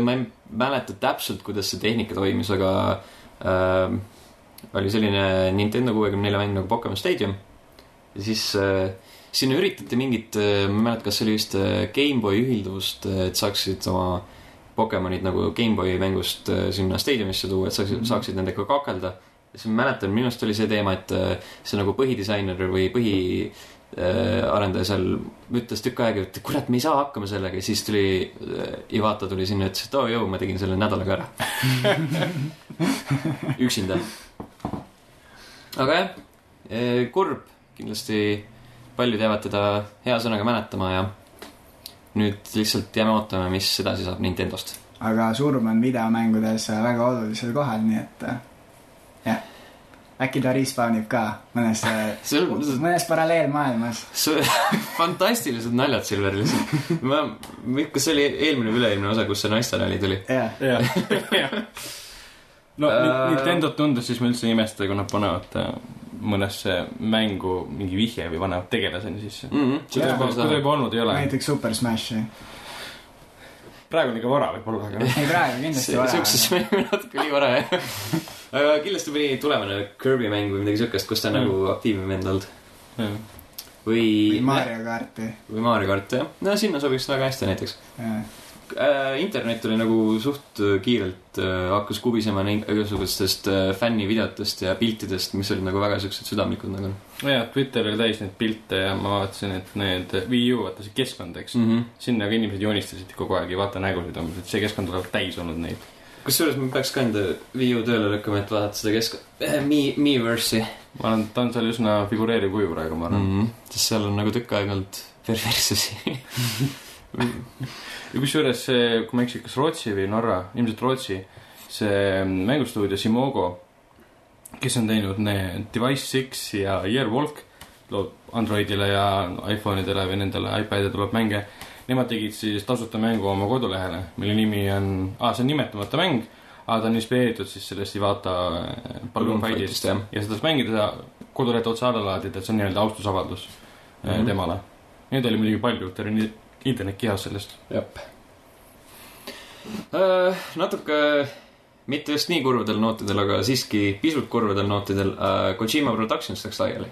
Speaker 1: ma ei mäleta täpselt , kuidas see tehnika toimis , aga äh, oli selline Nintendo kuuekümne nelja mäng nagu Pokemon Stadium . ja siis äh, sinna üritati mingit , ma ei mäleta , kas see oli vist äh, GameBoy ühilduvust , et saaksid oma Pokemonid nagu GameBoy mängust äh, sinna staadiumisse tuua , et saaksid , saaksid nendega kakelda . ja siis ma mäletan , minu arust oli see teema , et äh, see nagu põhidisainer või põhi äh, arendaja seal ütles tükk aega , et kurat , me ei saa hakkama sellega ja siis tuli äh, Ivata tuli sinna , ütles , et oo oh, jõu , ma tegin selle nädalaga ära . üksinda . aga jah , kurb , kindlasti paljud jäävad teda hea sõnaga mäletama ja nüüd lihtsalt jääme ootama , mis edasi saab Nintendost .
Speaker 3: aga surm on videomängudes äh, väga olulisel kohal , nii et äh, jah . äkki ta respawnib ka mõnes ,
Speaker 1: see on ,
Speaker 3: mõnes paralleelmaailmas .
Speaker 1: see fantastilised naljad , Silver , lihtsalt . ma , kas see oli eelmine või üle-eelmine osa , kus see naiste nali tuli ?
Speaker 3: jah ,
Speaker 2: jah , jah . no
Speaker 1: Äh,
Speaker 2: uh... Nintendot tundes siis ma üldse ei imesta , kui nad panevad äh, mõnesse mängu mingi vihje või panevad tegelaseni sisse . Mm.
Speaker 1: Mhm.
Speaker 2: seda
Speaker 3: Jaa.
Speaker 2: juba , seda juba olnud ei ole .
Speaker 3: näiteks Super Smashi .
Speaker 2: praegu on liiga vara võib-olla , aga noh .
Speaker 3: ei praegu kindlasti vaja .
Speaker 1: siukses mängu natuke liiga vara jah . aga kindlasti mõni tulevane Kirby mäng või midagi siukest , kus ta on
Speaker 2: Mm.
Speaker 1: nagu aktiivne vend olnud
Speaker 2: jah.
Speaker 1: või
Speaker 3: või . Mario karti .
Speaker 1: või Mario kart jah , no sinna sobiks väga hästi näiteks äh, . internet oli nagu suht äh, kiirelt äh, hakkas kubisema neid igasugustest äh, fännivideotest ja piltidest , mis olid nagu väga siuksed südamlikud nagu
Speaker 2: jah , Twitter oli täis neid pilte ja ma vaatasin , et need Wii U , vaata see keskkond , eks mm. .
Speaker 1: mm -hmm. .
Speaker 2: sinna ka inimesed joonistasid kogu aeg ja vaata nägusid umbes , et see keskkond olevat täis olnud neid .
Speaker 1: kusjuures ma peaks ka enda Wii U tööle lükkama , et vaadata seda kesk- , Mi , Miiverse'i
Speaker 2: ma arvan , et ta on seal üsna figureeriv kuju praegu , ma arvan mm. .
Speaker 1: -hmm. sest seal on nagu tükk aega olnud perverssusi .
Speaker 2: ja kusjuures see , kui ma ei eksi , kas Rootsi või Norra , ilmselt Rootsi , see mm, mängustuudio Simogo , kes on teinud need Device Six ja Airwalk , loob Androidile ja iPhone'idele või nendele iPad'idele tuleb mänge . Nemad tegid siis tasuta mängu oma kodulehele , mille nimi on ah, , see on nimetamata mäng , aga ta on inspireeritud siis sellest Ivata
Speaker 1: Balloon
Speaker 2: Balloon
Speaker 1: Fightist,
Speaker 2: Fightist
Speaker 1: jah.
Speaker 2: ja seda saab mängida kodulehelt otse alla laadida , et see on nii-öelda austusavaldus mm
Speaker 1: Mhm.
Speaker 2: -hmm. temale . Neid oli muidugi palju , terve ni- internet kihas sellest .
Speaker 1: jep . natuke , mitte just nii kurvadel nootidel , aga siiski pisut kurvadel nootidel äh, Kojima Productions läks laiali .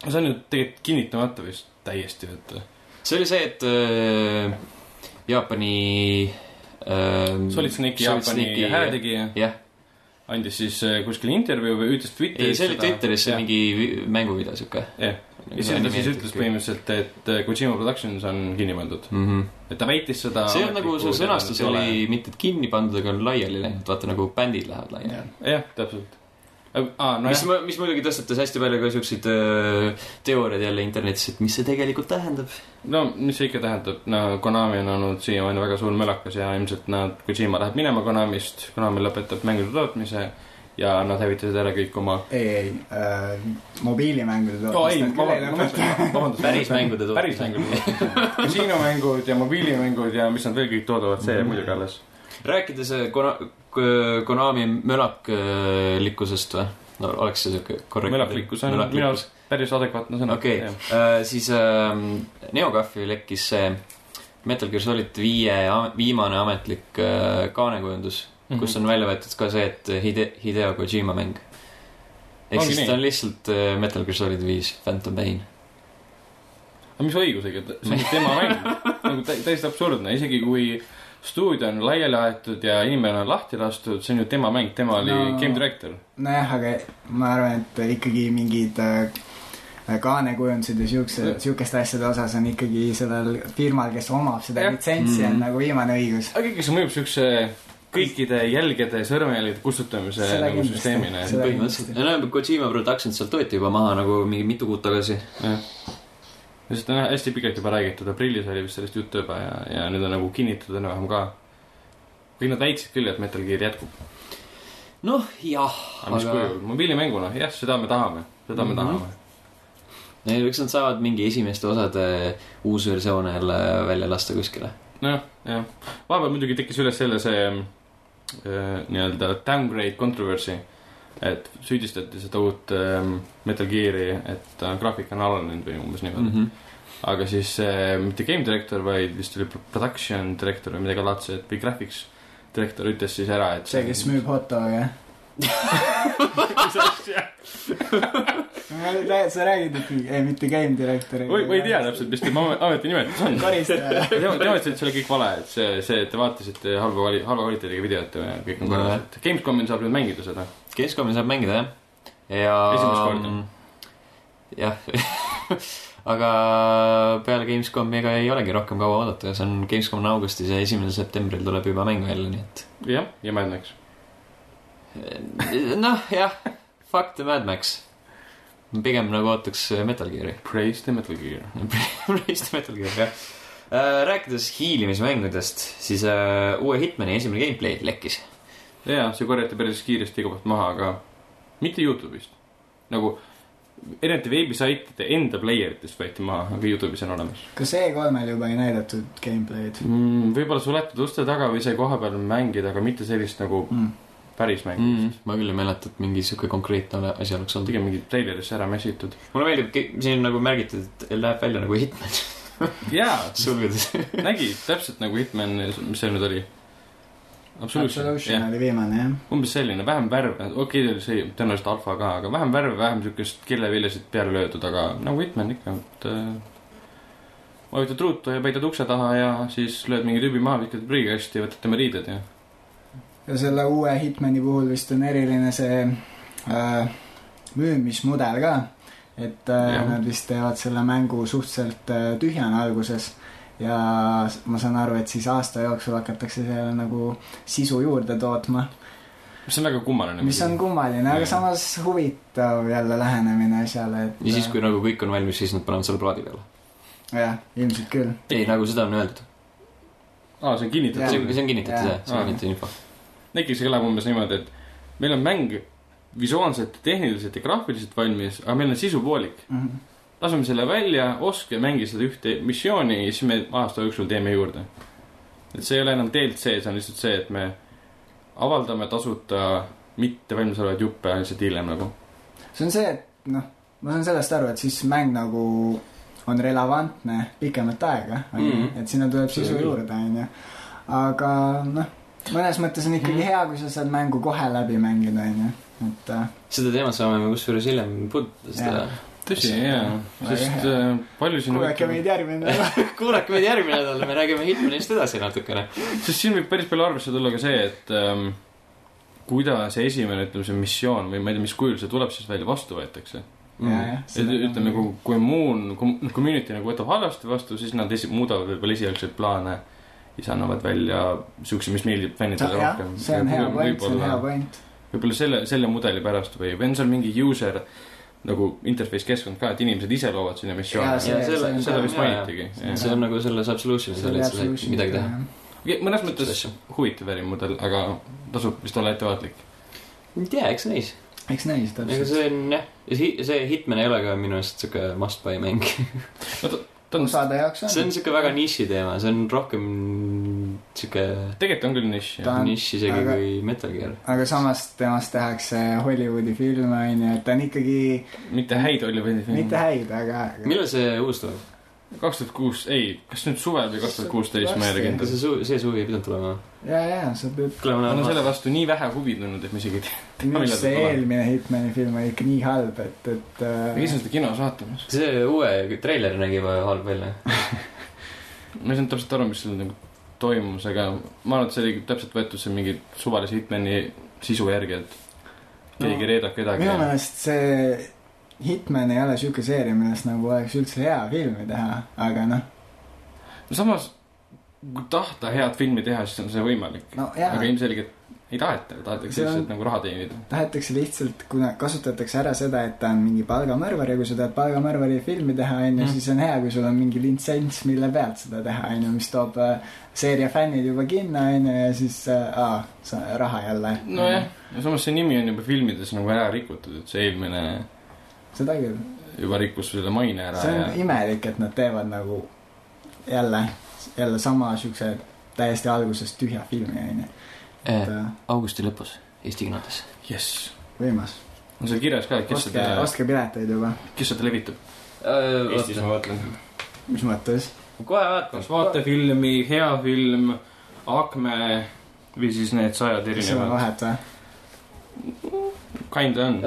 Speaker 2: see on ju tegelikult kinnitamata vist täiesti , et
Speaker 1: see oli see , et äh, Jaapani äh, .
Speaker 2: Solid Snake'i Jaapani hääletegija
Speaker 1: jah ,
Speaker 2: andis siis äh, kuskil intervjuu või ütles
Speaker 1: ei
Speaker 2: Twitteris
Speaker 1: see oli Twitteris see . mingi vi- mänguvideo Nagu siuke .
Speaker 2: jah , ja siis ta siis ütles . põhimõtteliselt , et äh, Kojima Productions on kinni pandud ,
Speaker 1: Mm -hmm.
Speaker 2: et ta väitis seda .
Speaker 1: see on nagu see sõnastus oli . mitte kinni pandud , aga on laiali läinud , vaata nagu bändid lähevad laiali .
Speaker 2: jah , täpselt . aa ,
Speaker 1: no mis
Speaker 2: nojah ,
Speaker 1: mu- , mis muidugi tõstatas hästi palju ka siukseid öö, teooriaid jälle internetis , et mis see tegelikult tähendab .
Speaker 2: no mis see ikka tähendab , no Konami on olnud siiamaani väga suur mölakas ja ilmselt nad , Kojima läheb minema Konamist , Konami lõpetab mängude tootmise ja nad hävitasid ära kõik oma .
Speaker 3: ei , ei äh, , mobiilimängude
Speaker 2: no ei , vabandust , vabandust .
Speaker 1: päris mängude tootmine .
Speaker 2: päris mängud , kasiinomängud ja mobiilimängud ja mis nad veel kõik toodavad , see jääb
Speaker 3: Mm.
Speaker 2: muidugi alles .
Speaker 1: rääkides öö, Kona- , k- Konami mölaklikkusest või ? no oleks see siuke korrektne .
Speaker 2: mölaklikkus on minu arust päris adekvaatne sõna .
Speaker 1: okei , siis äh, Neocafi lekkis see Metal Gear Solid viie a- viimane ametlik äh, kaanekujundus mm , -hmm.
Speaker 2: Mhm.
Speaker 1: kus on välja võetud ka see , et Hide- , Hideo Kojima mäng . ehk
Speaker 2: Ongi
Speaker 1: siis
Speaker 2: nii.
Speaker 1: ta on lihtsalt äh, Metal Gear Solid viis Phantom Pain .
Speaker 2: aga mis õigusega , see on tema mäng , nagu tä- täiesti absurdne , isegi kui stuudio on laiali aetud ja inimene on lahti lastud , see on ju tema mäng , tema oli
Speaker 3: No.
Speaker 2: game director .
Speaker 3: nojah , aga ma arvan , et ikkagi mingid äh, kaanekujundused ja siukse , siukeste asjade osas on ikkagi sellel firmal , kes omab seda
Speaker 2: Jah. Mm.
Speaker 3: litsentsi , on
Speaker 1: Mhm.
Speaker 3: nagu viimane õigus .
Speaker 2: aga ikkagi see mõjub siukse kõikide jälgede ja sõrmejälgede kustutamise
Speaker 3: Seda
Speaker 2: nagu
Speaker 3: kindlasti.
Speaker 2: süsteemina .
Speaker 3: Seda
Speaker 1: põhimõtteliselt , no näeb , Kojima Productions sealt võeti juba maha nagu mingi mitu kuud tagasi .
Speaker 2: ja seda on hästi pikalt juba räägitud , aprillis oli vist sellest juttu juba ja , ja nüüd on nagu kinnitud enam-vähem ka . kõik nad väitsid küll , et Metal Gear jätkub ,
Speaker 1: noh , jah ,
Speaker 2: aga mis
Speaker 1: aga
Speaker 2: kujul , mobiilimänguna , jah , seda me tahame , seda me
Speaker 1: Mhm.
Speaker 2: tahame .
Speaker 1: neil üks nad saavad mingi esimeste osade uus versioon jälle välja lasta kuskile .
Speaker 2: nojah , jah , vahepeal muidugi tekkis üles jälle see äh, nii-öelda downgrade controversy , et süüdistati seda uut äh, Metal Gear'i , et ta graafik on alanenud või umbes niimoodi
Speaker 1: Mhm.
Speaker 2: mm . -hmm. aga siis äh, mitte game director , vaid vist oli production director või midagi laadset või graphics director ütles siis ära , et
Speaker 3: see , kes müüb hot dog'e . sa räägid , et mingi- ei, mitte game director .
Speaker 2: oi , ma ei tea . täpselt , mis tema ameti nimetus on .
Speaker 3: koristaja .
Speaker 2: tema , tema ütles , et see oli kõik vale , et see , see , et te vaatasite halba vali- , halva kvaliteediga videot ja kõik on korras , et Gamescomil saab nüüd mängida seda .
Speaker 1: keskkomi saab mängida , jah . ja .
Speaker 2: Esimest korda. .
Speaker 1: jah , aga peale Gamescomi ega ei olegi rohkem kaua oodata , see on Gamescom on augustis ja esimesel septembril tuleb juba mäng välja , nii et
Speaker 2: jah , ja Mad Max .
Speaker 1: noh , jah , fuck the Mad Max . pigem nagu ootaks Metal Gear'i .
Speaker 2: Praise the Metal Gear .
Speaker 1: Raised Metal Gear , jah . rääkides hiilimismängudest , siis äh, uue Hitmani esimene gameplay lekkis .
Speaker 2: jaa , see korjati päris kiiresti iga koht maha , aga mitte Youtube'ist . nagu erinevate veebisaitide enda player itest võeti maha , aga Youtube'is on olemas
Speaker 3: kas E3-l juba ei näidatud gameplay'd ?
Speaker 2: mm, . võib-olla suletud uste taga või sai kohapeal mängida , aga mitte sellist nagu päris mängu mm. .
Speaker 1: ma küll ei mäleta , et mingi sihuke konkreetne ole- asi oleks olnud .
Speaker 2: pigem mingi treilerisse ära mässitud .
Speaker 1: mulle meeldib , siin on nagu märgitud , et läheb välja nagu Hitman
Speaker 2: jaa ,
Speaker 1: sulgudes .
Speaker 2: nägi täpselt nagu Hitman , mis see nüüd oli ? Absolution ,
Speaker 3: Absolution
Speaker 2: jah ,
Speaker 3: oli viimane , jah .
Speaker 2: umbes selline , vähem värve , okei okay, , see tõenäoliselt alfa ka , aga vähem värve , vähem siukest kelleviljasid peale löödud , aga nagu Hitman ikka , et äh, vajutad ruutu ja peidad ukse taha ja siis lööd mingi tüübi maha , viskad prügikasti ja võtad tema riided ja
Speaker 3: ja selle uue Hitmani puhul vist on eriline see äh, müümismudel ka , et äh,
Speaker 2: Jah.
Speaker 3: nad vist teevad selle mängu suhteliselt äh, tühjana alguses ja s- ma saan aru , et siis aasta jooksul hakatakse seal nagu sisu juurde tootma ,
Speaker 2: mis on väga kummaline .
Speaker 3: mis on kummaline , aga
Speaker 2: Nagu Jah.
Speaker 3: samas huvitav jälle lähenemine asjale , et
Speaker 1: ja siis , kui nagu kõik on valmis , siis nad panevad selle plaadi peale .
Speaker 3: jah , ilmselt küll .
Speaker 1: ei , nagu seda on öeldud .
Speaker 2: aa , see on
Speaker 3: Jah.
Speaker 1: see
Speaker 2: kinnitatud
Speaker 1: on , see on kinnitatud ,
Speaker 3: Jaa.
Speaker 1: jah , see on
Speaker 2: Aa.
Speaker 1: kinnitatud info .
Speaker 2: Nekil see kõlab umbes niimoodi , et meil on mäng visuaalselt , tehniliselt ja graafiliselt valmis , aga meil on sisu poolik .
Speaker 3: Mhm.
Speaker 2: laseme selle välja , oska ja mängi seda ühte missiooni ja siis me aasta jooksul teeme juurde . et see ei ole enam DLC , see on lihtsalt see , et me avaldame tasuta mitte valmisolevaid juppe lihtsalt hiljem nagu .
Speaker 3: see on see , et noh , ma saan sellest aru , et siis mäng nagu on relevantne pikemat aega , onju
Speaker 2: Mhm. ,
Speaker 3: et sinna tuleb
Speaker 2: Seda
Speaker 3: sisu
Speaker 2: küll.
Speaker 3: juurde , onju . aga noh , mõnes mõttes on ikkagi
Speaker 2: Mhm.
Speaker 3: hea , kui sa saad mängu kohe läbi mängida , onju , et äh,
Speaker 1: seda teemat saame me kusjuures hiljem puudutada , seda .
Speaker 2: tõsi , jaa , sest
Speaker 3: Väga
Speaker 2: äh, palju siin
Speaker 3: kuule , äkki meid järgmine
Speaker 1: kuulake meid järgmine nädal , me räägime Hitmanist edasi natukene .
Speaker 2: sest siin võib päris palju arvesse tulla ka see , et ähm, kuidas see esimene , ütleme see missioon või ma ei tea , mis kujul see tuleb siis välja , vastu võetakse .
Speaker 1: Mhm. Mm.
Speaker 2: et ütleme , kui , kui muun kom- community nagu võtab halvasti vastu , siis nad esi- , muudavad võib-olla esialgseid plaane ja siis annavad välja siukse , mis meeldib fännidele
Speaker 3: jah ,
Speaker 2: rohkem .
Speaker 3: see on hea point , see on hea point .
Speaker 2: võib-olla selle , selle mudeli pärast või , või on seal mingi user nagu interface keskkond ka , et inimesed ise loovad sinna missioone
Speaker 3: Jaa, . see- see on-
Speaker 2: seda vist
Speaker 1: jaa, jaa.
Speaker 2: mainitigi .
Speaker 1: see on nagu selles Absolutionis oli , et seal ei olnud midagi teha .
Speaker 2: mõnes mõttes huvitav ärimudel , aga tasub vist olla ettevaatlik .
Speaker 1: ei tea , eks näis .
Speaker 3: eks näis
Speaker 1: ega
Speaker 3: täpselt .
Speaker 1: see on jah , see Hitman ei ole ka minu arust siuke must buy mäng .
Speaker 2: ta on ,
Speaker 3: osade jaoks
Speaker 1: see on
Speaker 3: on .
Speaker 1: siuke väga niši teema , see on rohkem siuke
Speaker 2: tegelikult on küll nišš .
Speaker 3: Ta on-
Speaker 1: nišš isegi
Speaker 3: aga-
Speaker 1: kui Metal Gear .
Speaker 3: aga samas temast tehakse Hollywoodi filme , onju , et ta on ikkagi
Speaker 2: mitte häid Hollywoodi
Speaker 3: mitte
Speaker 2: filme .
Speaker 3: häid , aga .
Speaker 1: millal see uus tuleb ?
Speaker 2: kaks tuhat kuus , ei , kas nüüd suvel või kaks tuhat kuusteist , ma ei ole
Speaker 3: Varsti.
Speaker 2: kindel
Speaker 1: see . suvi , see suvi ei pidanud tulema .
Speaker 3: ja , ja sa pead ,
Speaker 2: ma olen selle vastu nii vähe huvi tundnud , et ma isegi ei tea .
Speaker 3: minu
Speaker 2: millal
Speaker 3: arust
Speaker 2: ta
Speaker 3: see
Speaker 2: tuleb?
Speaker 3: eelmine Hitmani film oli ikka nii halb , et , et
Speaker 2: ma
Speaker 3: äh,
Speaker 2: käisin seda kinos vaatamas .
Speaker 1: see uue treiler nägi juba halb välja .
Speaker 2: ma ei saanud täpselt aru , mis seal nagu toimus , aga ma arvan , et see oli täpselt võetud seal mingi suvalise Hitmani sisu järgi , et keegi
Speaker 3: No,
Speaker 2: ei reedab kedagi
Speaker 3: minu
Speaker 2: ja
Speaker 3: meelest see Hitman ei ole siuke seeria , millest nagu oleks üldse hea filmi teha , aga noh ,
Speaker 2: samas kui tahta head filmi teha , siis on see võimalik
Speaker 3: no
Speaker 2: aga
Speaker 3: jaa ,
Speaker 2: ilmselgelt ei taheta , tahetakse
Speaker 3: See on-
Speaker 2: lihtsalt nagu raha teenida .
Speaker 3: tahetakse lihtsalt , kuna kasutatakse ära seda , et ta on mingi palgamõrvar ja kui sa tahad palgamõrvari filmi teha , onju ,
Speaker 2: Mm.
Speaker 3: siis on hea , kui sul on mingi litsents , mille pealt seda teha , onju , mis toob äh, seeria fännid juba kinno , onju , ja siis äh, aa, sa raha jälle .
Speaker 2: nojah , ja samas see nimi on juba filmides nagu ära rikutud , et see eelmine
Speaker 3: seda küll .
Speaker 2: juba rikkus selle maine ära
Speaker 3: see on
Speaker 2: ja
Speaker 3: imelik , et nad teevad nagu jälle , jälle sama siukse täiesti algusest tühja filmi , onju . et
Speaker 1: Eh,
Speaker 3: äh,
Speaker 1: augusti lõpus Eesti kinodes .
Speaker 2: jess ,
Speaker 3: võimas .
Speaker 2: on seal kirjas ka , kes
Speaker 3: ostke
Speaker 2: seda ,,
Speaker 3: ostke pileteid juba .
Speaker 2: kes seda levitab .
Speaker 1: Äh,
Speaker 4: Eestis ma mõtlen .
Speaker 3: mis mõttes ?
Speaker 1: kohe vaatan
Speaker 2: kas . vaatefilmi , hea film , Akme või siis need sajad
Speaker 3: kas sul on
Speaker 2: erinevad .
Speaker 3: vahet või ?
Speaker 2: kinda on .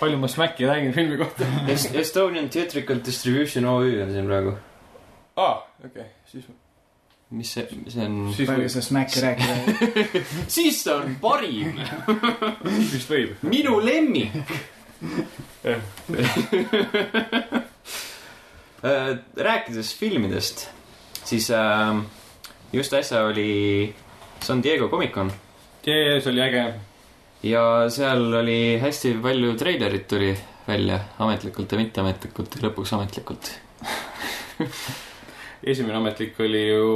Speaker 2: palju ma smäkki räägin filmi kohta ?
Speaker 1: Est- Äh, Estonian Theatrical Distribution OÜ on siin praegu .
Speaker 2: aa , okei , siis ,
Speaker 1: mis see , see on ?
Speaker 2: siis
Speaker 3: palju
Speaker 2: võib ,
Speaker 3: sa smäkki rääkida ?
Speaker 1: siis see on parim ,
Speaker 2: siis vist võib .
Speaker 1: minu lemmik . Äh, rääkides filmidest , siis äh, just äsja oli San Diego Comic-Con
Speaker 2: jee , see oli äge .
Speaker 1: ja seal oli hästi palju treilerit tuli välja ametlikult ja mitteametlikult ja lõpuks ametlikult .
Speaker 2: esimene ametlik oli ju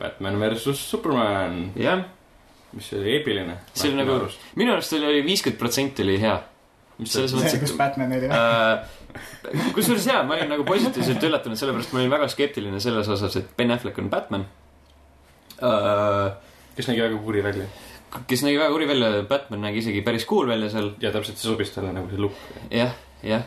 Speaker 2: Batman versus Superman
Speaker 1: jah ,
Speaker 2: mis oli eepiline .
Speaker 1: See oli nagu- minu arust oli , oli viiskümmend protsenti oli hea .
Speaker 2: mis
Speaker 1: selles
Speaker 2: selles
Speaker 1: mõttes-
Speaker 2: mõttes .
Speaker 3: see , kus Batman oli või ?
Speaker 1: Äh, kusjuures jaa , ma olin nagu positiivselt üllatunud , sellepärast ma olin väga skeptiline selles osas , et Ben Affleck on Batman äh, .
Speaker 2: kes nägi väga kuri välja
Speaker 1: kes nägi väga kuri välja , Batman nägi isegi päris cool välja seal ,
Speaker 2: ja täpselt see sobis talle nagu see look .
Speaker 1: jah , jah ,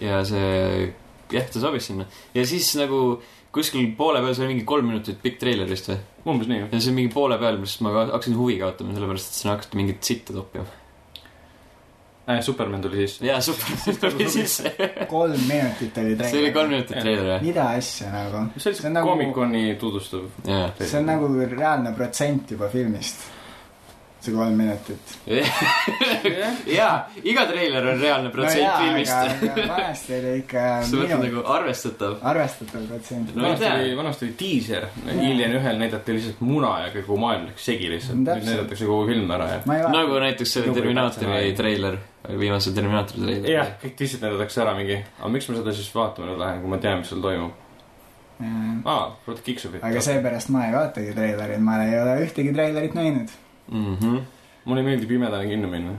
Speaker 1: ja see , jah , ta sobis sinna ja siis nagu kuskil poole peal , see oli mingi kolm minutit pikk treiler vist või ?
Speaker 2: umbes nii jah .
Speaker 1: ja see oli mingi poole peal , mis ma ka- hakkasin huvi kaotama , sellepärast et sinna hakati mingit sitta toppima .
Speaker 2: Äh, Superman tuli sisse .
Speaker 1: jaa , super , see tuli sisse .
Speaker 3: kolm minutit oli treiler .
Speaker 1: see oli kolm minutit
Speaker 2: Jah.
Speaker 1: treiler , jah ,
Speaker 3: mida asja nagu ?
Speaker 2: see oli
Speaker 3: See
Speaker 2: see
Speaker 3: on nagu-
Speaker 2: Comic-Coni tutvustav .
Speaker 1: jaa .
Speaker 3: see on . nagu reaalne protsent juba filmist . see kolm minutit .
Speaker 1: jaa , iga treiler on reaalne protsent no, filmist .
Speaker 3: vanasti oli ikka
Speaker 1: sa mõtled
Speaker 3: minu
Speaker 1: nagu arvestatav ?
Speaker 3: arvestatav protsent .
Speaker 1: No ei
Speaker 2: vanasti
Speaker 1: tea.
Speaker 2: oli , vanasti oli diiser ,
Speaker 3: Jaa.
Speaker 2: Alien ühel näidati lihtsalt muna ja kogu maailm läks segi lihtsalt . nüüd
Speaker 3: Täpselt.
Speaker 2: näidatakse kogu film ära ja .
Speaker 3: ma ei
Speaker 1: nagu näiteks selle
Speaker 2: Nagu
Speaker 1: Terminaatori
Speaker 2: täpselt.
Speaker 1: treiler , viimase Terminaatori treiler .
Speaker 2: jah , kõik diisid näidatakse ära mingi , aga miks ma seda siis vaatama nüüd lähen , kui ma tean , mis seal toimub .
Speaker 3: vaata .
Speaker 2: aa , vaata kiksub .
Speaker 3: aga seepärast ma ei vaatagi treilerit , ma ei ole ühtegi treilerit näinud .
Speaker 1: mm . -hmm.
Speaker 2: mulle meeldib pimedana kinno minna .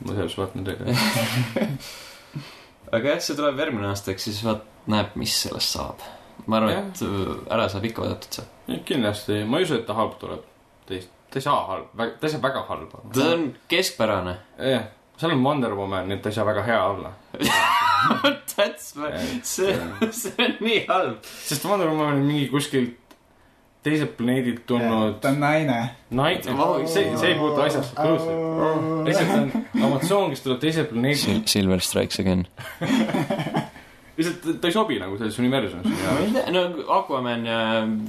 Speaker 2: ma sellepärast vaatan teile .
Speaker 1: aga jah , see tuleb järgmine aasta , eks siis vaat- , näeb , mis sellest saab . ma
Speaker 2: Jah.
Speaker 1: arvan , et öö, ära saab ikka oodatud see .
Speaker 2: Ei, kindlasti , ma ei usu , et ta halb tuleb . ta ei , ta ei saa halb , ta ei saa väga halb
Speaker 1: ta
Speaker 2: olla .
Speaker 1: on keskpärane .
Speaker 2: jah , seal on Wonder Woman , nii et ta ei saa väga hea olla .
Speaker 1: That's , see , see on nii halb .
Speaker 2: sest Wonder Woman on mingi kuskilt teiselt planeedilt tulnud
Speaker 3: ta on naine .
Speaker 2: naine
Speaker 1: Vau, .
Speaker 2: see , see ei puutu asjasse absoluutselt . lihtsalt
Speaker 3: absoluutselt .
Speaker 2: on emotsioon , kes tuleb teiselt planeedilt ,
Speaker 1: Silver Strikes Again .
Speaker 2: lihtsalt ta- ta ei sobi nagu selles universumis .
Speaker 1: ma ei tea , no Aquaman ja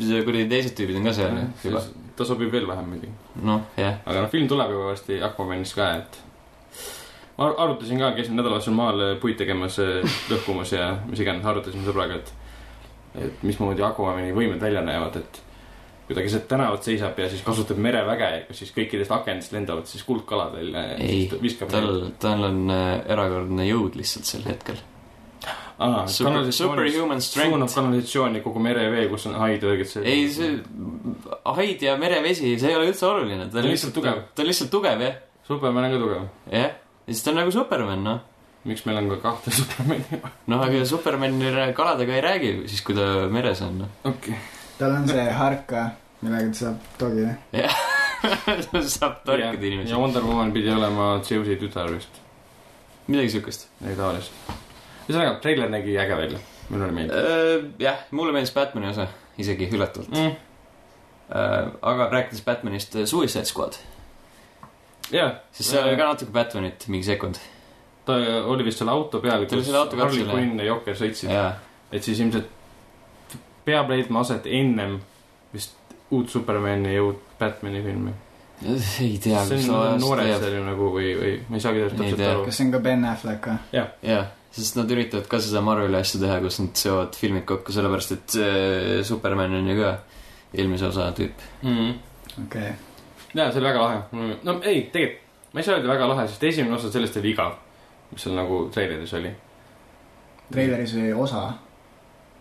Speaker 1: see kuradi teised tüübid on ka seal ju, juba .
Speaker 2: ta sobib veel vähem muidugi .
Speaker 1: noh , jah .
Speaker 2: aga noh , film tuleb ju varsti Aquamanis ka , et ma ar- arutasin ka , käisin nädalavahetusel maal äh, puid tegemas , lõhkumas ja mis iganes , arutasime sõbraga , et et mismoodi Aquamani võimed välja näevad , et kui ta keset tänavat seisab ja siis kasutab mereväge , siis kõikidest akendist lendavad siis kuldkalad välja ja
Speaker 1: Ei,
Speaker 2: siis ta viskab
Speaker 1: tal , tal on äh, erakordne jõud lihtsalt sel hetkel .
Speaker 2: ah,
Speaker 1: Super , superhuman
Speaker 2: suunab
Speaker 1: strength .
Speaker 2: kanalisatsiooni kogu merevee , kus on haid ja õiged
Speaker 1: ei , see haid ja merevesi , see ei ole üldse oluline . ta on lihtsalt tugev . ta on lihtsalt tugev , jah .
Speaker 2: Superman on ka tugev .
Speaker 1: jah . ja siis ta on nagu Superman , noh .
Speaker 2: miks meil on ka kahte Supermani ?
Speaker 1: noh , aga Superman rää- kaladega ei räägi siis , kui ta meres on , noh .
Speaker 2: okei okay. ,
Speaker 3: tal on see harka , millega ta saab dogida .
Speaker 1: saab torkida
Speaker 2: ja
Speaker 1: inimesi .
Speaker 2: Wonder Woman pidi olema Zeusi tütar vist .
Speaker 1: midagi siukest .
Speaker 2: ei tavaliselt . ühesõnaga , treiler nägi äge välja , mulle meeldis
Speaker 1: Äh, jah , mulle meeldis Batman'i osa , isegi üllatavalt .
Speaker 2: mm. .
Speaker 1: aga rääkides Batmanist , Suicide Squad ,
Speaker 2: jah ,
Speaker 1: sest seal oli ka natuke Batmanit , mingi sekund .
Speaker 2: ta oli vist selle auto peal ,
Speaker 1: Ta oli
Speaker 2: kus
Speaker 1: selle autoga
Speaker 2: Harley
Speaker 1: otsele.
Speaker 2: Quinn ja Jokker sõitsid ,
Speaker 1: jaa ,
Speaker 2: et siis ilmselt peab leidma aset ennem vist uut Supermani ja uut Batman'i filmi .
Speaker 1: ei tea ,
Speaker 2: see
Speaker 1: mis ta
Speaker 2: on
Speaker 1: ajast
Speaker 2: noored
Speaker 1: teab .
Speaker 2: seal ju nagu või , või ma ei saagi
Speaker 1: Ei
Speaker 2: sellest täpselt
Speaker 1: tea.
Speaker 2: aru .
Speaker 3: kas see on ka Ben Affleck või ?
Speaker 1: jah , sest nad üritavad ka seda Marveli asja teha , kus nad seovad filmid kokku , sellepärast et äh, Superman on ju ka eelmise osa tüüp .
Speaker 2: mm .
Speaker 3: okei .
Speaker 2: jaa , see oli väga lahe . no ei , tegelikult ma ei saa öelda väga lahe , sest esimene osa sellest oli igav , mis seal nagu treileris oli .
Speaker 3: treileris oli osa ,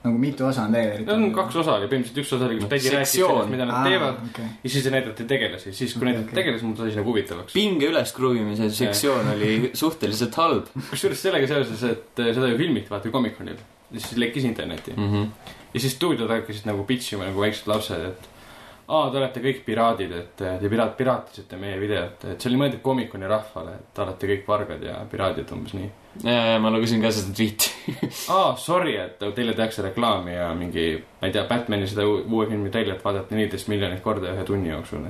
Speaker 3: nagu mitu osa on treilerit ?
Speaker 2: Need on kaks osa oli , põhimõtteliselt üks osa oli , kus Peggy rääkis
Speaker 1: Sektsioon.
Speaker 2: sellest , mida nad teevad
Speaker 3: okei ,
Speaker 2: ja siis näidati tegelasi , siis kui
Speaker 3: Okei,
Speaker 2: näidati
Speaker 3: okei.
Speaker 2: tegelasi , mul sai see nagu huvitavaks .
Speaker 1: pinge üleskruvimise sektsioon oli suhteliselt halb
Speaker 2: kusjuures sellega seoses , et eh, seda ju filmiti vaata ju Comic-Conil ja siis lekkis internetti
Speaker 1: mm . -hmm.
Speaker 2: ja siis stuudiod hakkasid nagu pitch ima nagu väiksed lapsed , et aa , te olete kõik piraadid , et eh, te piraat , piraatisite meie videot , et see oli mõeldud Comic-Coni rahvale , et te olete kõik vargad ja piraadid umbes nii .
Speaker 1: Äh, ma lugesin ka seda tweet'i .
Speaker 2: aa , sorry , et teile tehakse reklaami ja mingi , ma ei tea , Batman'i seda u- uue filmi treilet vaadati neliteist miljonit korda ühe tunni jooksul .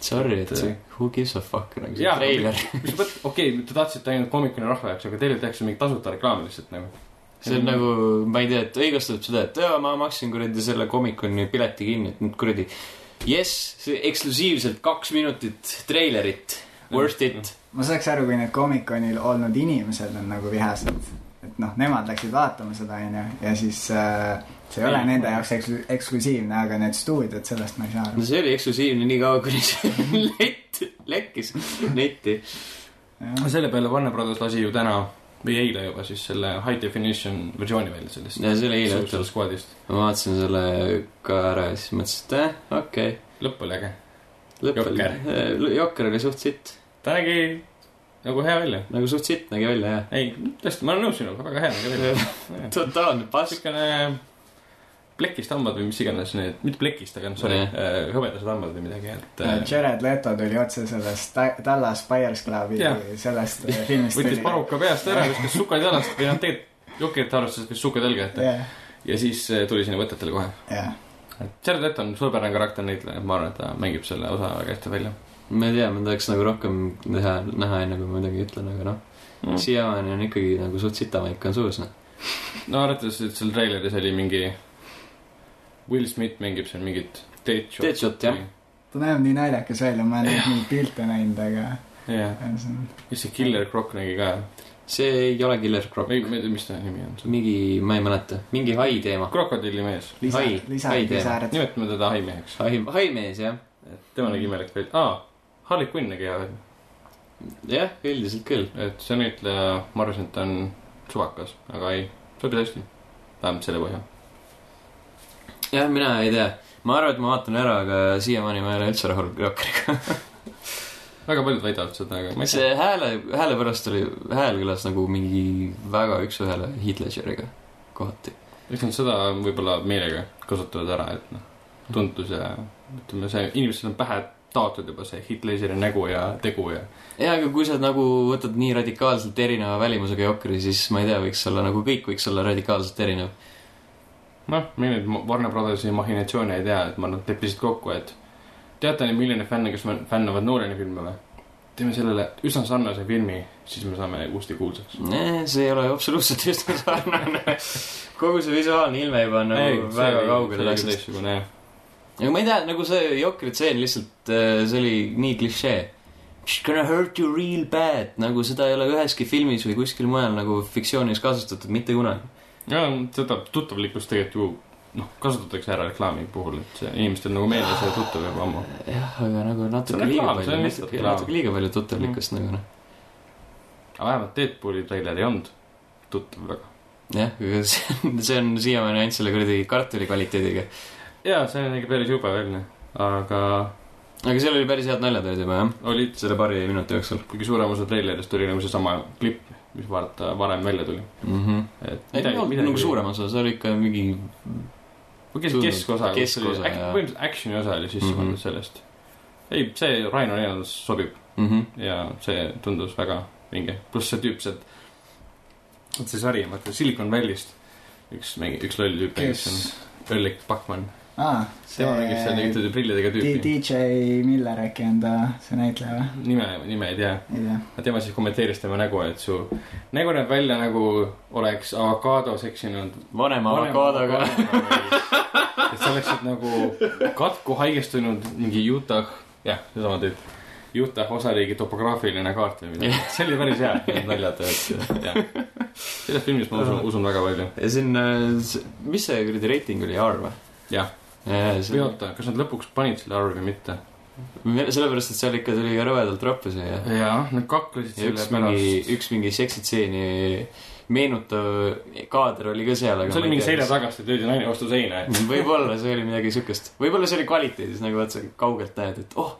Speaker 1: Sorry , et see who gives a fuck nagu see
Speaker 2: Jaa.
Speaker 1: treiler .
Speaker 2: mis mõttes , okei okay, , te tahtsite ainult Comic-Coni rahva jaoks , aga teile tehakse mingi tasuta reklaami lihtsalt nagu .
Speaker 1: see on nagu , ma ei tea , et õigustab seda , et jaa , ma maksin kuradi selle Comic-Coni pileti kinni , et nüüd kuradi jess , see eksklusiivselt kaks minutit treilerit , worth it .
Speaker 3: ma saaks aru , kui need Comic-Conil olnud inimesed on nagu vihased . et noh , nemad läksid vaatama seda , onju , ja siis äh, see ei ole nende jaoks eks- , eksklusiivne , aga need stuudiod , sellest ma ei saa
Speaker 1: no
Speaker 3: aru .
Speaker 1: see oli eksklusiivne nii kaua , kuni see lett , lekkis netti .
Speaker 2: selle peale Warner Brothers lasi ju täna või eile juba siis selle high definition versiooni välja sellest .
Speaker 1: ja see oli eile õhtul
Speaker 2: sellest . skuadist .
Speaker 1: ma vaatasin selle ka ära ja siis mõtlesin , et eh , okei okay. .
Speaker 2: lõpp oli äge . Jokker.
Speaker 1: lõpp , Jokker oli suht sitt ,
Speaker 2: ta nägi nagu hea välja .
Speaker 1: nagu suht sitt nägi välja jah .
Speaker 2: ei , tõesti , ma olen nõus sinuga , väga hea nägi välja .
Speaker 1: totaalne pask .
Speaker 2: niisugune plekist hambad või mis iganes need , mitte plekist , aga noh , sorry
Speaker 1: Jah. ,
Speaker 2: hõbedased hambad või midagi , et äh,
Speaker 3: Jared Leto tuli otse sellest Ta- Dallas Buyers Clubi
Speaker 2: Jah.
Speaker 3: sellest äh, filmist
Speaker 2: võttis paruka peast ära , viskas sukad jalast või noh , tegelikult Jokerit arvestas , et sukad jalga ette
Speaker 3: jah ,
Speaker 2: ja siis äh, tuli sinna võtetele kohe .
Speaker 3: jah .
Speaker 2: et Jared Leto on suurepärane karakter näitleja , ma arvan , et ta mängib selle osa väga hästi välja
Speaker 1: ma ei tea , ma tahaks nagu rohkem teha , näha enne kui ma midagi ütlen , aga noh mm. ,
Speaker 2: mm. .
Speaker 1: siiamaani on ikkagi nagu suht sitamaik on suus , noh .
Speaker 2: no arvates , et seal treileris oli mingi Will Smith mängib seal mingit Deadshot .
Speaker 1: Deadshot, jah. .
Speaker 3: ta näeb nii naljakas välja , ma olen neid pilte näinud , aga
Speaker 2: jah ,
Speaker 3: see on
Speaker 2: ja see Killer Croc nägi ka ,
Speaker 1: see ei ole Killer Croc .
Speaker 2: või ma ei tea , mis ta nimi on .
Speaker 1: mingi , ma ei mäleta , mingi hai teema .
Speaker 2: krokodillimees ,
Speaker 3: lisa
Speaker 1: Hai- ,
Speaker 3: lisa ,
Speaker 1: hai teema.
Speaker 3: lisaared .
Speaker 2: nimetame teda haimeheks .
Speaker 1: hai , haimees jah ,
Speaker 2: tema nägi imelik välja , aa , Harley Quinn nägi hea välja ,
Speaker 1: jah , üldiselt küll .
Speaker 2: et see näitleja , ma arvasin , et ta on suvakas , aga ei , sobi hästi , vähemalt selle põhjal .
Speaker 1: jah , mina ei tea , ma arvan , et ma vaatan ära , aga siiamaani ma ei ole üldse rahul Jokeriga .
Speaker 2: väga paljud väidavad seda , aga ma ei tea .
Speaker 1: see hääle , hääle pärast oli , hääl kõlas nagu mingi väga üks-ühele Heath Ledgeriga kohati .
Speaker 2: eks nad seda võib-olla meelega kasutavad ära , et noh , tuntus ja ütleme , see inimesed on pähe taotud juba see Hitleri nägu ja tegu ja
Speaker 1: jaa , aga kui sa nagu võtad nii radikaalselt erineva välimusega Jokeri , siis ma ei tea , võiks olla nagu kõik võiks olla radikaalselt erinev .
Speaker 2: noh , mina nüüd Warner Brothersi mahhinatsioone ei tea , et ma nad leppisid kokku , et teate neid miljoni fänne , kes fän- fännavad Nolani filme või ? teeme sellele üsna sarnase filmi , siis me saame uuesti kuulsaks .
Speaker 1: see ei ole absoluutselt just sarnane . kogu see visuaalne ilme juba on nagu ei, väga kaugele läks .
Speaker 2: teistsugune jah .
Speaker 1: aga ma ei tea , nagu see Jokeri tseen lihtsalt , see oli nii klišee . It's gonna hurt you real bad , nagu seda ei ole üheski filmis või kuskil mujal nagu fiktsioonis kasutatud mitte kunagi .
Speaker 2: ja seda tuttavlikkust tegelikult ju noh , kasutatakse ära reklaami puhul , et see inimestel nagu meeles ja tuttav juba ammu .
Speaker 1: jah , aga nagu
Speaker 2: See
Speaker 1: natuke
Speaker 2: on
Speaker 1: liiga
Speaker 2: reklaam, see
Speaker 1: palju
Speaker 2: on , lihtsalt
Speaker 1: natuke
Speaker 2: reklaam. Mm.
Speaker 1: natuke liiga palju tuttavlikkust nagu noh .
Speaker 2: aga vähemalt Deadpooli treiler ei olnud tuttav väga .
Speaker 1: jah , aga see on , see on siiamaani ainult selle kuradi kartuli kvaliteediga .
Speaker 2: jaa , see nägi päris jube välja , aga
Speaker 1: aga seal oli päris head naljad olid juba jah ,
Speaker 2: olid
Speaker 1: selle paari minuti jooksul
Speaker 2: kuigi suurem osa treilerist oli nagu seesama klipp , mis vaata varem välja tuli .
Speaker 1: mm . -hmm.
Speaker 2: et
Speaker 1: ei , ei olnud nagu suurem osa , see oli ikka mingi ,
Speaker 2: või kes ,
Speaker 1: Tundub.
Speaker 2: keskosa .
Speaker 1: Keskosa, jah.
Speaker 2: põhimõtteliselt action'i osa oli sisse
Speaker 1: Mhm.
Speaker 2: pandud mm -hmm. sellest . ei , see Raino Neelans sobib
Speaker 1: mhm.
Speaker 2: ja see tundus väga vinge , pluss see tüüp sealt , vot see sari , vaata Silicon Valley'st üks mingi , üks loll tüüp mängis
Speaker 3: kes
Speaker 2: seal ,? Öllik Bachmann ,
Speaker 3: aa ,
Speaker 2: tema mängis seal
Speaker 3: see
Speaker 2: mingite prillidega
Speaker 3: D-
Speaker 2: tüüpi .
Speaker 3: DJ Miller äkki on ta , see näitleja või ?
Speaker 2: nime , nime ei tea ,
Speaker 3: ei tea .
Speaker 2: aga tema siis kommenteeris tema nägu , et su nägu näeb välja nagu oleks avokaado seksinud
Speaker 1: vanema avokaadoga .
Speaker 2: et sa oleksid nagu katku haigestunud mingi Utah , jah , seesama tüüp , Utah osariigi topograafiline kaart või midagi , see oli päris hea , need naljad , et jah . selles filmis ma usun , usun väga palju ,
Speaker 1: äh, ja siin , mis see kuradi reiting oli , R või ?
Speaker 2: jah . või oota , kas nad lõpuks panid selle arve või mitte ?
Speaker 1: sellepärast , et seal ikka tuli ka rõvedalt rappa see ja
Speaker 2: jaa , nad kaklesid
Speaker 1: ja
Speaker 2: selle
Speaker 1: üks mingi ,
Speaker 2: pärast .
Speaker 1: üks mingi seksitseeni meenutav kaader oli ka seal , aga
Speaker 2: see oli mingi selja . tagasi , löödi naine vastu seina .
Speaker 1: võib-olla see oli midagi siukest , võib-olla see oli kvaliteedis nagu , et sa kaugelt näed , et oh ,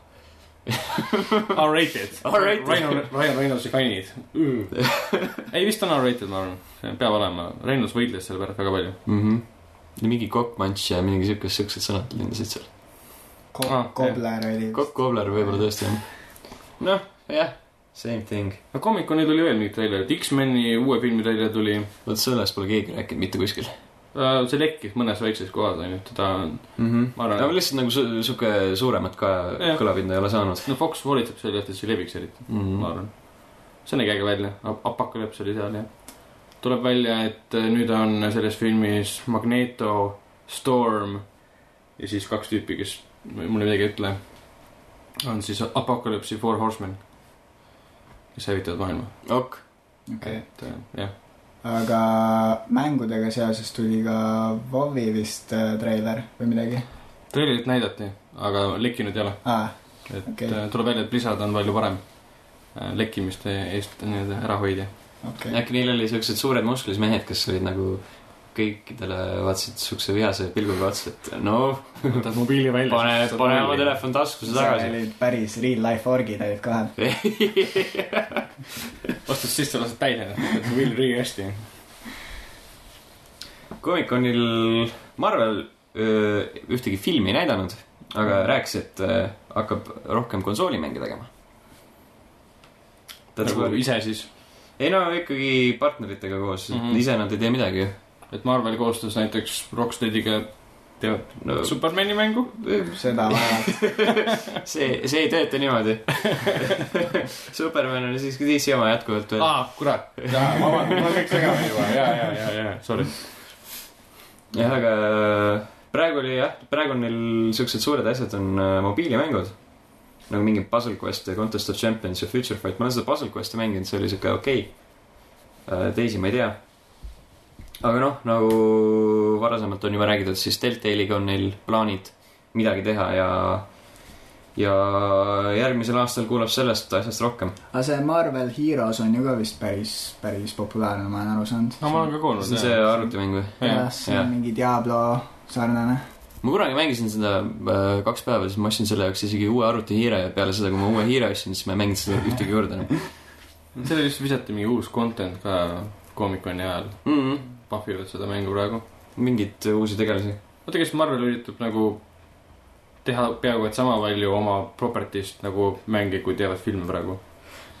Speaker 2: R-rated .
Speaker 1: R-rated.
Speaker 2: Raino , Raino Reinose kannid . ei , vist on R-rated , ma arvan . see peab olema . Reinos võidles selle pärast väga palju .
Speaker 1: mm . -hmm. mingi kokkmanš ja mingi siukest , siuksed sõnad lendasid seal .
Speaker 2: Ah, jah.
Speaker 3: Kobler oli .
Speaker 1: kokk Kobler võib-olla tõesti jah . noh , jah , same thing .
Speaker 2: no Comic-Conil tuli veel mingeid treilereid . X-meni uue filmi treiler tuli .
Speaker 1: vot sellest pole keegi rääkinud mitte kuskil
Speaker 2: see lekkis mõnes väikses kohas , onju . teda on ,
Speaker 1: mm . -hmm.
Speaker 2: ma arvan
Speaker 1: aga , lihtsalt nagu su- siuke suuremat ka
Speaker 2: Jah.
Speaker 1: kõlapinda ei ole saanud
Speaker 2: no Fox hoolitseb selle eest , et see leviks eriti ,
Speaker 1: mm .
Speaker 2: ma
Speaker 1: -hmm.
Speaker 2: arvan . see nägi äge välja , Apocalypse oli seal ja tuleb välja , et äh, nüüd on selles filmis Magneto , Storm ja siis kaks tüüpi , kes mulle midagi ei ütle , on siis Apocalypse'i Four Horsemen , kes hävitavad maailma .
Speaker 1: ok ,
Speaker 3: okei .
Speaker 2: et äh, jah ,
Speaker 3: aga mängudega seoses tuli ka Vovi vist äh, treiler või midagi
Speaker 2: treilerit näidati , aga lekkinud ei ole ,
Speaker 3: ah, .
Speaker 2: et
Speaker 3: Okei.
Speaker 2: okay. tuleb välja , et Blizzard on palju parem äh, lekkimiste eest nii-öelda ärahoidja .
Speaker 3: okei okay. .
Speaker 1: äkki neil oli siuksed suured musklis mehed , kes olid nagu kõikidele vaatasid siukse vihase pilguga otsa , et no
Speaker 2: võtad mobiili välja .
Speaker 1: pane , pane oma . telefon taskusse
Speaker 3: seal
Speaker 1: tagasi .
Speaker 3: olid päris real life orgid olid kohal .
Speaker 2: vastas sisse , lased täide , et mobiil riigi hästi .
Speaker 1: Comic-Conil Marvel öö, ühtegi filmi ei näidanud , aga rääkis , et öö, hakkab rohkem konsoolimänge tegema . ta nagu
Speaker 2: nagu ise siis ,
Speaker 1: ei no ikkagi partneritega koos mm ,
Speaker 2: Mhm.
Speaker 1: -hmm. ise nad ei tee midagi ju .
Speaker 2: et Marvel koostas näiteks Rocksteadiga teevad
Speaker 1: no
Speaker 2: Supermani mängu .
Speaker 3: seda vaevalt .
Speaker 1: see , see ei tööta niimoodi . Superman on siiski DC oma jätkuvalt veel .
Speaker 2: aa , kurat . jaa , vabandust , ma kõik segan juba , ja , ja , ja , ja , sorry .
Speaker 1: jah , aga äh, praegu oli jah , praegu on neil siuksed suured asjad on äh, mobiilimängud . nagu mingi Puzzle Quest ja Contest of Champions ja Future Fight , ma olen seda Puzzle Questi mänginud , see oli siuke okei okay. . teisi ma ei tea . aga noh , nagu varasemalt on juba räägitud , siis Deltailiga on neil plaanid midagi teha ja , ja järgmisel aastal kuulab sellest asjast rohkem .
Speaker 3: aga see Marvel Heroes on ju ka vist päris , päris populaarne , ma olen aru saanud .
Speaker 2: no ma olen ka
Speaker 1: see on
Speaker 2: kuulnud ,
Speaker 1: see
Speaker 2: jah .
Speaker 1: arvutimäng või ?
Speaker 3: jah , see
Speaker 1: jah.
Speaker 3: on mingi Diablo sarnane .
Speaker 1: ma kunagi mängisin seda äh, kaks päeva , siis ma ostsin selle jaoks isegi uue arvutihiire ja peale seda , kui ma uue hiire ostsin , siis ma ei mänginud seda ühtegi juurde enam
Speaker 2: selle vist visati mingi uus content ka Comic-Coni ajal ,
Speaker 1: mm . -hmm.
Speaker 2: pahvivad seda mängu praegu .
Speaker 1: mingeid uusi tegelasi .
Speaker 2: oota , kas Marvel üritab nagu teha peaaegu et sama palju oma property'st nagu mänge , kui teevad filme praegu ?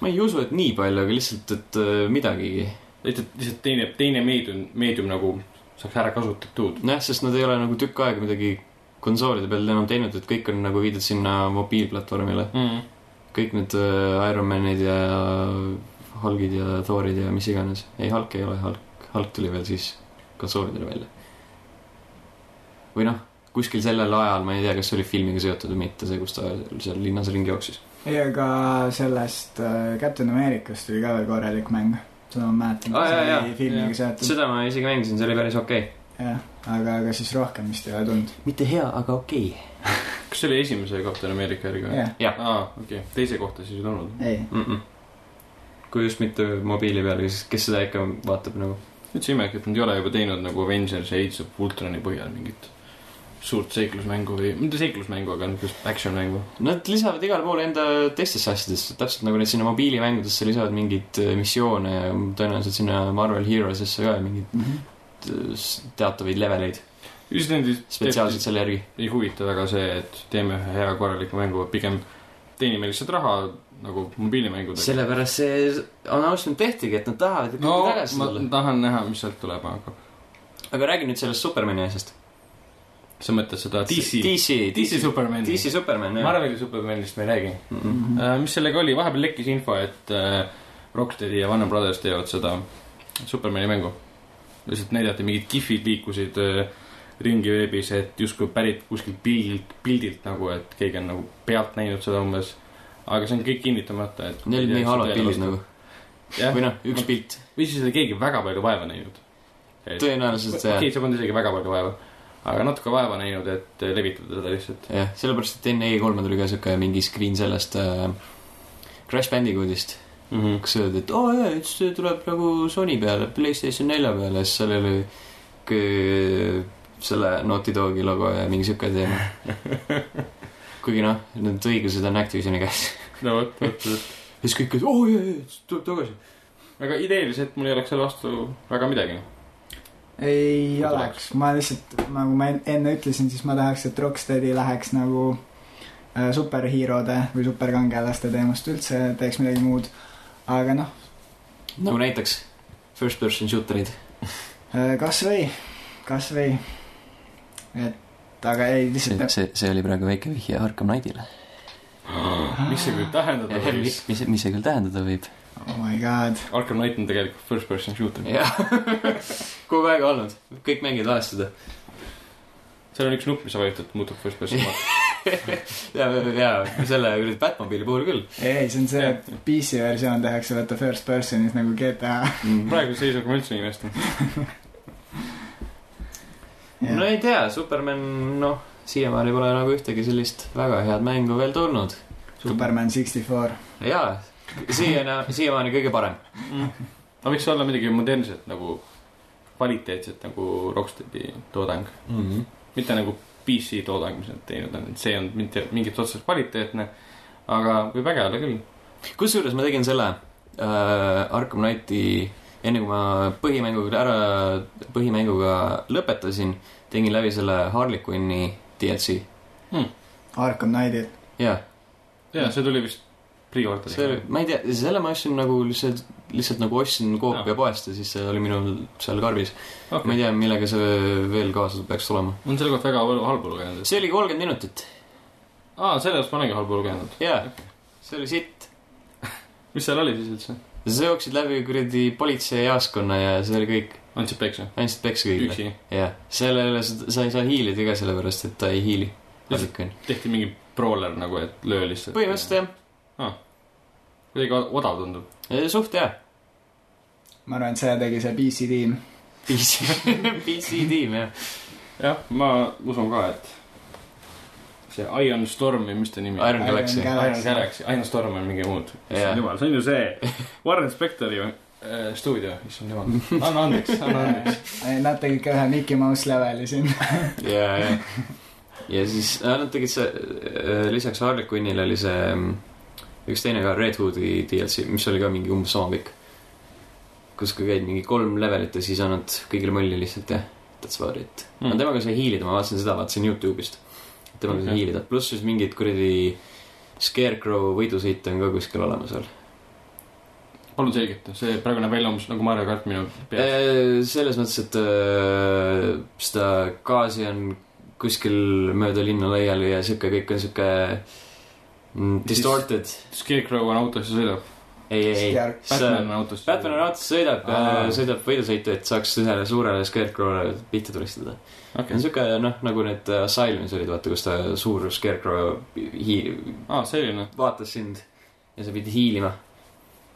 Speaker 1: ma ei usu , et nii palju , aga lihtsalt , et äh, midagigi .
Speaker 2: lihtsalt , lihtsalt teine , teine meedium , meedium nagu saaks ära kasutatud .
Speaker 1: nojah , sest nad ei ole nagu tükk aega midagi konsoolide peal enam teinud , et kõik on nagu viidud sinna mobiilplatvormile .
Speaker 2: mm. .
Speaker 1: kõik need äh, Ironmanid ja Hulgid ja Thorid ja mis iganes . ei , Hulk ei ole Hulk , Hulk tuli veel siis konsoolidele välja . või noh , kuskil sellel ajal , ma ei tea , kas see oli filmiga seotud või mitte , see , kus ta seal linnas ringi jooksis .
Speaker 3: ei , aga sellest äh, Captain Americast tuli ka veel korralik mäng . seda ma mäletan
Speaker 1: Aa, jaa,
Speaker 3: see
Speaker 1: jaa.
Speaker 3: oli filmiga seotud .
Speaker 1: seda ma isegi mängisin , see oli päris okei okay. .
Speaker 3: jah , aga , aga siis rohkem vist ei ole tulnud .
Speaker 1: mitte hea , aga okei okay. .
Speaker 2: kas see oli esimese Captain America järgi või ?
Speaker 3: jah ,
Speaker 1: jah
Speaker 2: aa , okei okay. , teise kohta siis ei tulnud .
Speaker 3: ei .
Speaker 1: mm . -mm. kui just mitte mobiili peal , kes , kes seda ikka vaatab nagu .
Speaker 2: üldse imelik , et nad ei ole juba teinud nagu Avengers ja Age of Ultroni põhjal mingit suurt seiklusmängu või , mitte seiklusmängu , aga niisugust action mängu .
Speaker 1: Nad lisavad igale poole enda teistesse asjadesse , täpselt nagu need sinna mobiilimängudesse lisavad mingeid äh, missioone ja tõenäoliselt sinna Marvel Heroesesse ka mingeid
Speaker 3: Mhm.
Speaker 1: äh, s- teatavaid leveleid
Speaker 2: üldiselt neid
Speaker 1: spetsiaalselt selle järgi .
Speaker 2: ei huvita väga see , et teeme ühe hea korraliku mängu , pigem teenime lihtsalt raha nagu mobiilimängudega .
Speaker 1: sellepärast see announcement tehtigi , et nad tahavad
Speaker 2: no ma tahan näha , mis sealt tuleb , aga
Speaker 1: aga räägi nüüd sellest Supermani asjast .
Speaker 2: sa mõtled seda DC ,
Speaker 1: DC ,
Speaker 2: DC
Speaker 1: DC ,
Speaker 2: Supermani .
Speaker 1: DC Superman , jah .
Speaker 2: Marveli Supermanist me ei räägi .
Speaker 1: Mm
Speaker 3: Mhm. Äh,
Speaker 2: Äh, mis sellega oli , vahepeal lekkis info , et äh, Rocksteadi ja Warner Brothers teevad seda Supermani mängu . lihtsalt näidati , mingid kihvid liikusid äh, ringi veebis , et justkui pärit kuskilt pildilt , pildilt nagu , et keegi on nagu pealt näinud seda umbes . aga see on kõik kinnitamata , et .
Speaker 1: Neil on nii halvad pildid nagu .
Speaker 2: jah ,
Speaker 1: või noh , üks pilt .
Speaker 2: või siis ei ole keegi väga palju vaeva näinud .
Speaker 1: tõenäoliselt see
Speaker 2: okei , see polnud isegi väga palju vaeva . aga natuke vaeva näinud , et äh, levitada seda lihtsalt .
Speaker 1: jah , sellepärast , et enne E3-e tuli ka siuke mingi screen sellest äh, Crash Bandicootist ,
Speaker 2: Mm -hmm.
Speaker 1: kus öeldi , et oo oh, jaa , see tuleb nagu Sony peale , Playstation nelja peale , siis seal oli kõ- selle Naughty Dogi logo ja mingi siuke teema . kuigi noh , need õigused on Activisioni käes .
Speaker 2: no vot , vot , vot .
Speaker 1: ja siis kõik olid , oo jaa , jaa , tuleb tagasi .
Speaker 2: aga ideeliselt mul ei oleks selle vastu väga midagi .
Speaker 3: ei
Speaker 2: Kui
Speaker 3: oleks , ma lihtsalt , nagu ma en- enne ütlesin , siis ma tahaks , et Rocksteadi läheks nagu äh, superhiirode või superkangelaste teemast üldse , teeks midagi muud . aga noh ,
Speaker 1: nagu näiteks first person shooter'id .
Speaker 3: äh, kasvõi , kasvõi , et aga ei , lihtsalt .
Speaker 1: see , see oli praegu väike vihje Arkham Knightile .
Speaker 2: mis see võib tähendada
Speaker 1: Ah. mis
Speaker 2: siis ?,
Speaker 1: mis see küll tähendada võib ?
Speaker 3: oh my god ,
Speaker 2: Arkham Knight on tegelikult first person shooter .
Speaker 1: jah , kogu aeg olnud , kõik mängijad valestada .
Speaker 2: seal on üks nupp , mis sa vajutad , muutub first person .
Speaker 1: ja , ja selle kuradi Batmobili puhul küll
Speaker 3: ei , see on see , et PC versioon tehakse vaata first person'is nagu GTA .
Speaker 1: mm. .
Speaker 2: praeguse seisuga ma üldse ei imesta .
Speaker 1: no ei tea , Superman , noh , siiamaani pole nagu ühtegi sellist väga head mängu veel tulnud .
Speaker 3: Superman sixty four .
Speaker 1: jaa , siiani , siiamaani kõige parem .
Speaker 2: aga võiks olla midagi modernset nagu kvaliteetset nagu Rocksteadi toodang ,
Speaker 1: Mm -hmm.
Speaker 2: mitte nagu PC toodang , mis nad teinud on , see on mitte mingit otseselt kvaliteetne , aga võib äge olla küll .
Speaker 1: kusjuures ma tegin selle äh, Arkham Knighti , enne kui ma põhimänguga ära , põhimänguga lõpetasin , tegin läbi selle Harley Quinni DLC .
Speaker 3: Arkham Knightil .
Speaker 1: jaa ,
Speaker 2: ja see tuli vist
Speaker 1: see oli
Speaker 2: pre-order'i ,.
Speaker 1: ma ei tea , selle ma ostsin nagu lihtsalt , lihtsalt nagu ostsin koopiapoest ja siis see oli minul seal karbis . ma
Speaker 2: Okay.
Speaker 1: ei tea , millega see veel kaasas peaks tulema .
Speaker 2: on selle kohta väga hal- halba lugenud .
Speaker 1: see oli kolmkümmend minutit .
Speaker 2: aa , selle jaoks ma olengi halba lugenud .
Speaker 1: jaa , see oli sitt .
Speaker 2: mis seal oli siis üldse ?
Speaker 1: sa jooksid läbi kuradi politseijaoskonna ja see oli kõik ,
Speaker 2: andsid peksa ?
Speaker 1: andsid peksa kõigile .
Speaker 2: üksi ,
Speaker 1: jah , selle üle sa sa ei saa hiilida ka sellepärast , et ta ei hiili . Harlequin .
Speaker 2: tehti mingi brawler nagu , et löö lihtsalt .
Speaker 1: põhimõtteliselt
Speaker 2: jah . kuidagi o- odav tundub .
Speaker 1: jah , suht hea .
Speaker 3: ma arvan , et see tegi see PC tiim .
Speaker 1: PC , PC tiim jah .
Speaker 2: jah , ma usun ka , et see Iron Storm või mis ta nimi
Speaker 1: Iron Galaxy .
Speaker 2: Iron Galaxy , Iron Storm on mingi muud .
Speaker 1: Jah.
Speaker 2: issand jumal , see on ju see Warren Spectori äh, stuudio , issand jumal . anna andeks , anna andeks .
Speaker 3: Nad tegid ka ühe Mickey Mouse leveli siin .
Speaker 1: ja , ja , ja siis äh, nad tegid see , lisaks Harlequinile oli see mm, üks teine ka Red Hoodi DLC , mis oli ka mingi umbes sama pikk . kus ka käid mingi kolm levelit ja siis annad kõigile mulli lihtsalt ja that's about it mm. . no
Speaker 2: Mm.
Speaker 1: temaga sai hiilida , ma vaatasin seda , vaatasin Youtube'ist . temaga sai
Speaker 2: Okei.
Speaker 1: okay. hiilida , pluss siis mingid kuradi Scarecrow võidusõite on ka kuskil olemas veel .
Speaker 2: palun selgita , see praegu näeb välja umbes nagu Mario kart minu peas .
Speaker 1: Eh, selles mõttes , et eh, seda gaasi on kuskil mööda linna laiali ja sihuke , kõik on sihuke mm, distorted .
Speaker 2: Scarecrow on autos ja sõidab .
Speaker 1: ei , ei , ei .
Speaker 2: Batman on autos .
Speaker 1: Batman on . autos , sõidab äh,
Speaker 2: Aa. ,
Speaker 1: sõidab võidusõitu , et saaks ühele suurele Scarecrow'le pihta tulistada . see on
Speaker 2: okei ,
Speaker 1: sihuke noh , nagu need eh, Asylumis olid , vaata , kus ta suur Scarecrow hii- ,
Speaker 2: aa Ah, selline .
Speaker 1: vaatas sind ja sa pidid hiilima .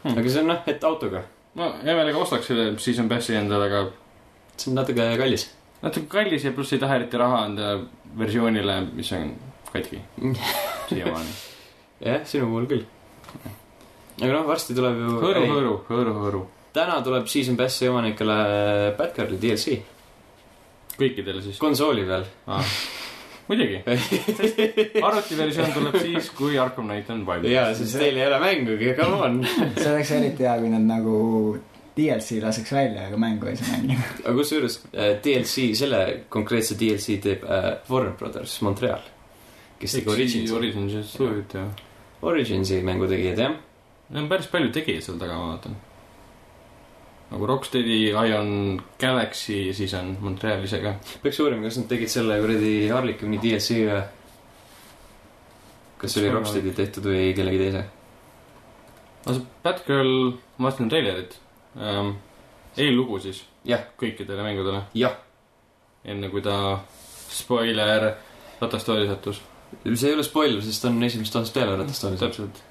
Speaker 2: Hmm.
Speaker 1: aga see on noh , et autoga ,
Speaker 2: ma hea meelega ostaks selle Season Passi endale , aga
Speaker 1: see on natuke kallis .
Speaker 2: natuke kallis ja pluss ei taha eriti raha anda versioonile , mis on katki siiamaani .
Speaker 1: jah , sinu puhul küll . aga noh , varsti tuleb ju .
Speaker 2: hõõru , hõõru , hõõru , hõõru .
Speaker 1: täna tuleb Season Passi omanikele Batgirli DLC
Speaker 2: kõikidele siis .
Speaker 1: konsooli peal .
Speaker 2: muidugi , arvutiversioon tuleb siis , kui Arkham Knight on valmis .
Speaker 1: ja siis teil ei ole mängugi , come on .
Speaker 3: see oleks eriti hea , kui nad nagu DLC laseks välja , aga mängu ei saa mängida .
Speaker 1: aga kusjuures äh, DLC , selle konkreetse DLC teeb äh, Warner Brothers Montreal , kes tegi Originsi ,
Speaker 2: Origins on suur huvitav .
Speaker 1: Originsi mängu tegijad jah .
Speaker 2: Neil on päris palju tegijaid seal taga , ma vaatan . nagu Rocksteadi , Ion Galaxy , siis on Montreal ise ka .
Speaker 1: peaks uurima , kas nad tegid selle kuradi Harlequini DLC või ? kas see oli Rocksteadi tehtud või kellegi teise ?
Speaker 2: no see Batgirl , ma vaatasin treilerit ähm, . eellugu siis .
Speaker 1: Jah. .
Speaker 2: kõikidele mängudele .
Speaker 1: Jah. .
Speaker 2: enne kui ta , spoiler , ratastooli sattus .
Speaker 1: see ei ole spoiler , sest ta on esimesest aastast peale ratastoolis .
Speaker 2: täpselt .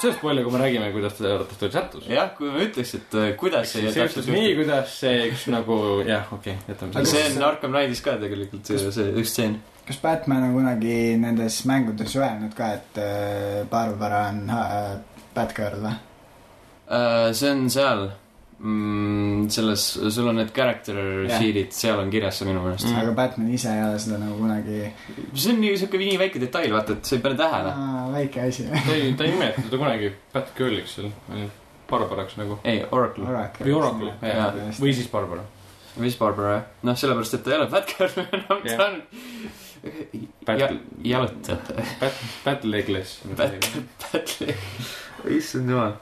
Speaker 2: sellest palju , kui me räägime , kuidas ta ratastuli sattus .
Speaker 1: jah , kui ma ütleks , et äh, kuidas see
Speaker 2: see juhtus nii , kuidas see üks nagu jah , okei okay, , jätame
Speaker 1: aga
Speaker 2: selle .
Speaker 1: see on Arkham Knightis ka tegelikult see , see üks stseen .
Speaker 3: kas Batman on kunagi nendes mängudes öelnud ka , et äh, Barbara on äh, Batgirl või ?
Speaker 1: Äh, see on seal mm, , selles , sul on need character
Speaker 3: Jah.
Speaker 1: yeah. sheet'id , seal on kirjas see minu meelest
Speaker 2: Mm.
Speaker 1: mm. .
Speaker 3: aga Batman ise ei ole seda nagu kunagi
Speaker 1: see on nii siuke nii väike detail , vaata , et sa ei pane tähele .
Speaker 3: Aa, väike asi .
Speaker 2: ta ei , ta ei nimetanud teda kunagi Batgirliks seal , Barbaraks nagu .
Speaker 1: ei , Oracle ,
Speaker 3: Oracle .
Speaker 2: või Oracle ,
Speaker 1: Jaa.
Speaker 2: jah . või siis Barbara .
Speaker 1: mis Barbara , noh , sellepärast , et ta ei ole Batgirl enam ,
Speaker 2: Jah.
Speaker 1: ta on ja,
Speaker 2: Bat ,
Speaker 1: jalutaja ,
Speaker 2: Bat , Batlegless .
Speaker 1: Batgirl . issand jumal ,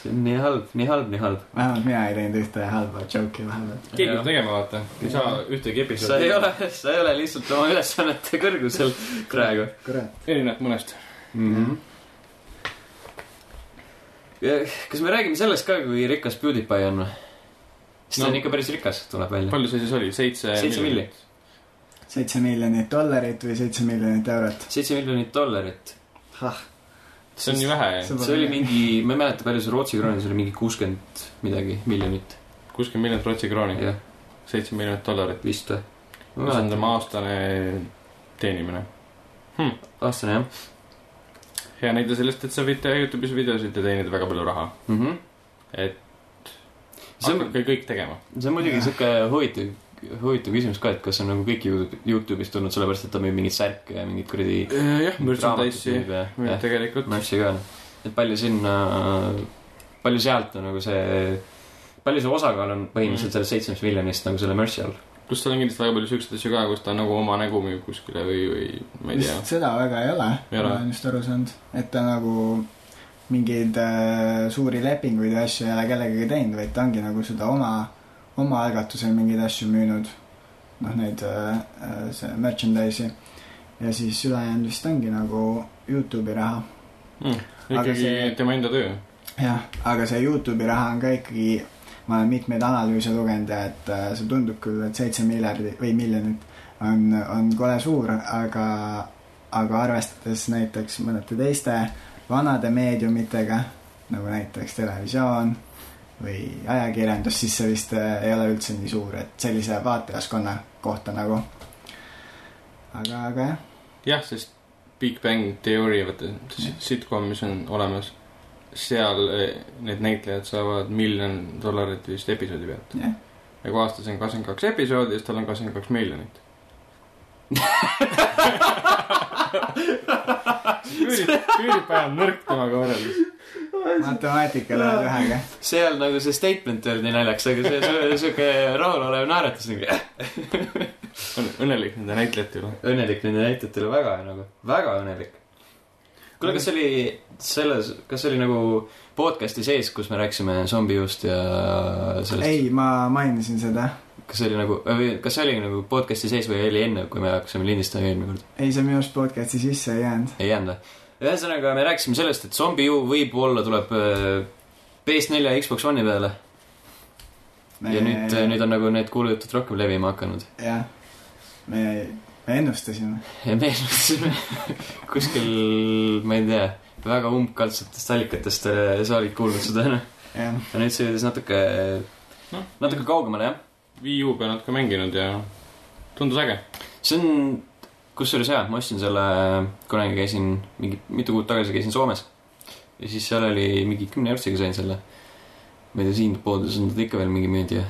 Speaker 1: see on nii halb , nii halb , nii halb .
Speaker 3: vähemalt mina ei teinud ühte halba joke'i vahepeal .
Speaker 2: keegi peab tegema , vaata . ei saa ühtegi episoodi .
Speaker 1: sa ei ole , sa ei ole lihtsalt oma ülesannete kõrgusel praegu .
Speaker 3: kurat .
Speaker 2: erinevalt mõnest . Mhm.
Speaker 1: mm . -hmm. kas me räägime sellest ka , kui rikas PewDiePie on või ? sest no.
Speaker 2: No.
Speaker 1: ta on ikka päris rikas , tuleb välja .
Speaker 2: palju see siis oli , seitse ?
Speaker 1: Seitse miljonit. .
Speaker 3: seitse miljonit dollarit või seitse miljonit eurot ?
Speaker 1: seitse miljonit dollarit .
Speaker 2: see on nii vähe ,
Speaker 1: see oli . mingi , ma ei mäleta , palju see Rootsi kroonis oli , mingi kuuskümmend midagi miljonit .
Speaker 2: kuuskümmend miljonit Rootsi krooni ,
Speaker 1: jah ,
Speaker 2: seitse miljonit dollarit .
Speaker 1: vist või ?
Speaker 2: see on tema aastane teenimine .
Speaker 1: aastane jah
Speaker 2: hea näide sellest , et sa võid teha Youtube'is videosid ja teenida väga palju raha .
Speaker 1: mm . -hmm.
Speaker 2: et
Speaker 1: see on ,
Speaker 2: hakake kõik tegema .
Speaker 1: see on muidugi siuke huvitav , huvitav küsimus ka , et kas on nagu kõik Youtube- Youtube'ist tulnud sellepärast , et ta müüb mingeid särke ja mingeid kuradi .
Speaker 2: jah , merchandise'i müüb tegelikult .
Speaker 1: Merch'i ka , et palju sinna , palju sealt on nagu see , palju see osakaal on põhimõtteliselt sellest seitsmest miljonist nagu selle Merch'i all .
Speaker 2: pluss seal on kindlasti väga palju siukseid asju ka , kus ta nagu oma nägu müüb kuskile või , või ma ei tea .
Speaker 3: vist seda väga ei ole ,
Speaker 2: Ei
Speaker 3: ma
Speaker 2: ole.
Speaker 3: olen just aru saanud , et ta nagu mingeid äh, suuri lepinguid ja asju ei ole kellegagi teinud , vaid ta ongi nagu seda oma , oma algatusel mingeid asju müünud . noh , neid äh, äh, see merchandise'i ja siis ülejäänud vist ongi nagu Youtube'i raha . Aga
Speaker 2: ikkagi Mm. see...
Speaker 3: see-
Speaker 2: tema enda töö .
Speaker 3: jah , aga see Youtube'i raha on ka ikkagi , ma olen mitmeid analüüse lugenud ja et äh, see tundub küll , et seitse miljardit või miljonit on , on kole suur , aga , aga arvestades näiteks mõnete teiste vanade meediumitega nagu näiteks televisioon või ajakirjandus , siis see vist äh, ei ole üldse nii suur , et sellise vaatajaskonna kohta nagu . aga , aga jah ,
Speaker 2: jah , sest Big Bang Theory , vaata see sit- sitcom , mis on olemas , seal eh, need näitlejad saavad miljon dollarit vist episoodi pealt .
Speaker 3: jah .
Speaker 2: ja kui aastas on kakskümmend kaks episoodi , siis tal on kakskümmend kaks miljonit . küüripäev on nõrk temaga võrreldes .
Speaker 3: matemaatikal on ühega .
Speaker 1: seal nagu see statement öeldi naljaks , aga see- see siuke rahulolev naeratus nagu
Speaker 2: on õnnelik nende näitlejate üle .
Speaker 1: õnnelik nende näitajatele väga nagu , väga õnnelik . kuule , kas oli selles , kas oli nagu podcast'i sees , kus me rääkisime zombijuust ja sellest ,
Speaker 3: ei , ma mainisin seda
Speaker 1: kas see oli nagu , või kas see oli nagu podcast'i sees või oli enne , kui me hakkasime lindistama eelmine kord ?
Speaker 3: ei , see minu arust podcast'i sisse ei jäänud .
Speaker 1: ei jäänud või ? ühesõnaga , me rääkisime sellest , et zombi ju võib-olla tuleb äh, PS4 ja Xbox One'i peale me... ja nüüd , nüüd on nagu need kuulujutud rohkem levima hakanud .
Speaker 3: jah , me , me ennustasime .
Speaker 1: ja me eeldasime kuskil , ma ei tea , väga umbkaldsetest allikatest äh, sa olid kuulnud seda , noh .
Speaker 3: jah ,
Speaker 1: ja nüüd see jõudis natuke , natuke kaugemale , jah .
Speaker 2: Wii U peal natuke mänginud ja tundus äge .
Speaker 1: see on , kusjuures jaa , ma ostsin selle , kunagi käisin mingi mitu kuud tagasi käisin Soomes ja siis seal oli mingi kümne eurtsiga sain selle . ma ei tea , siin poodides on teda ikka veel mingi müüdi ja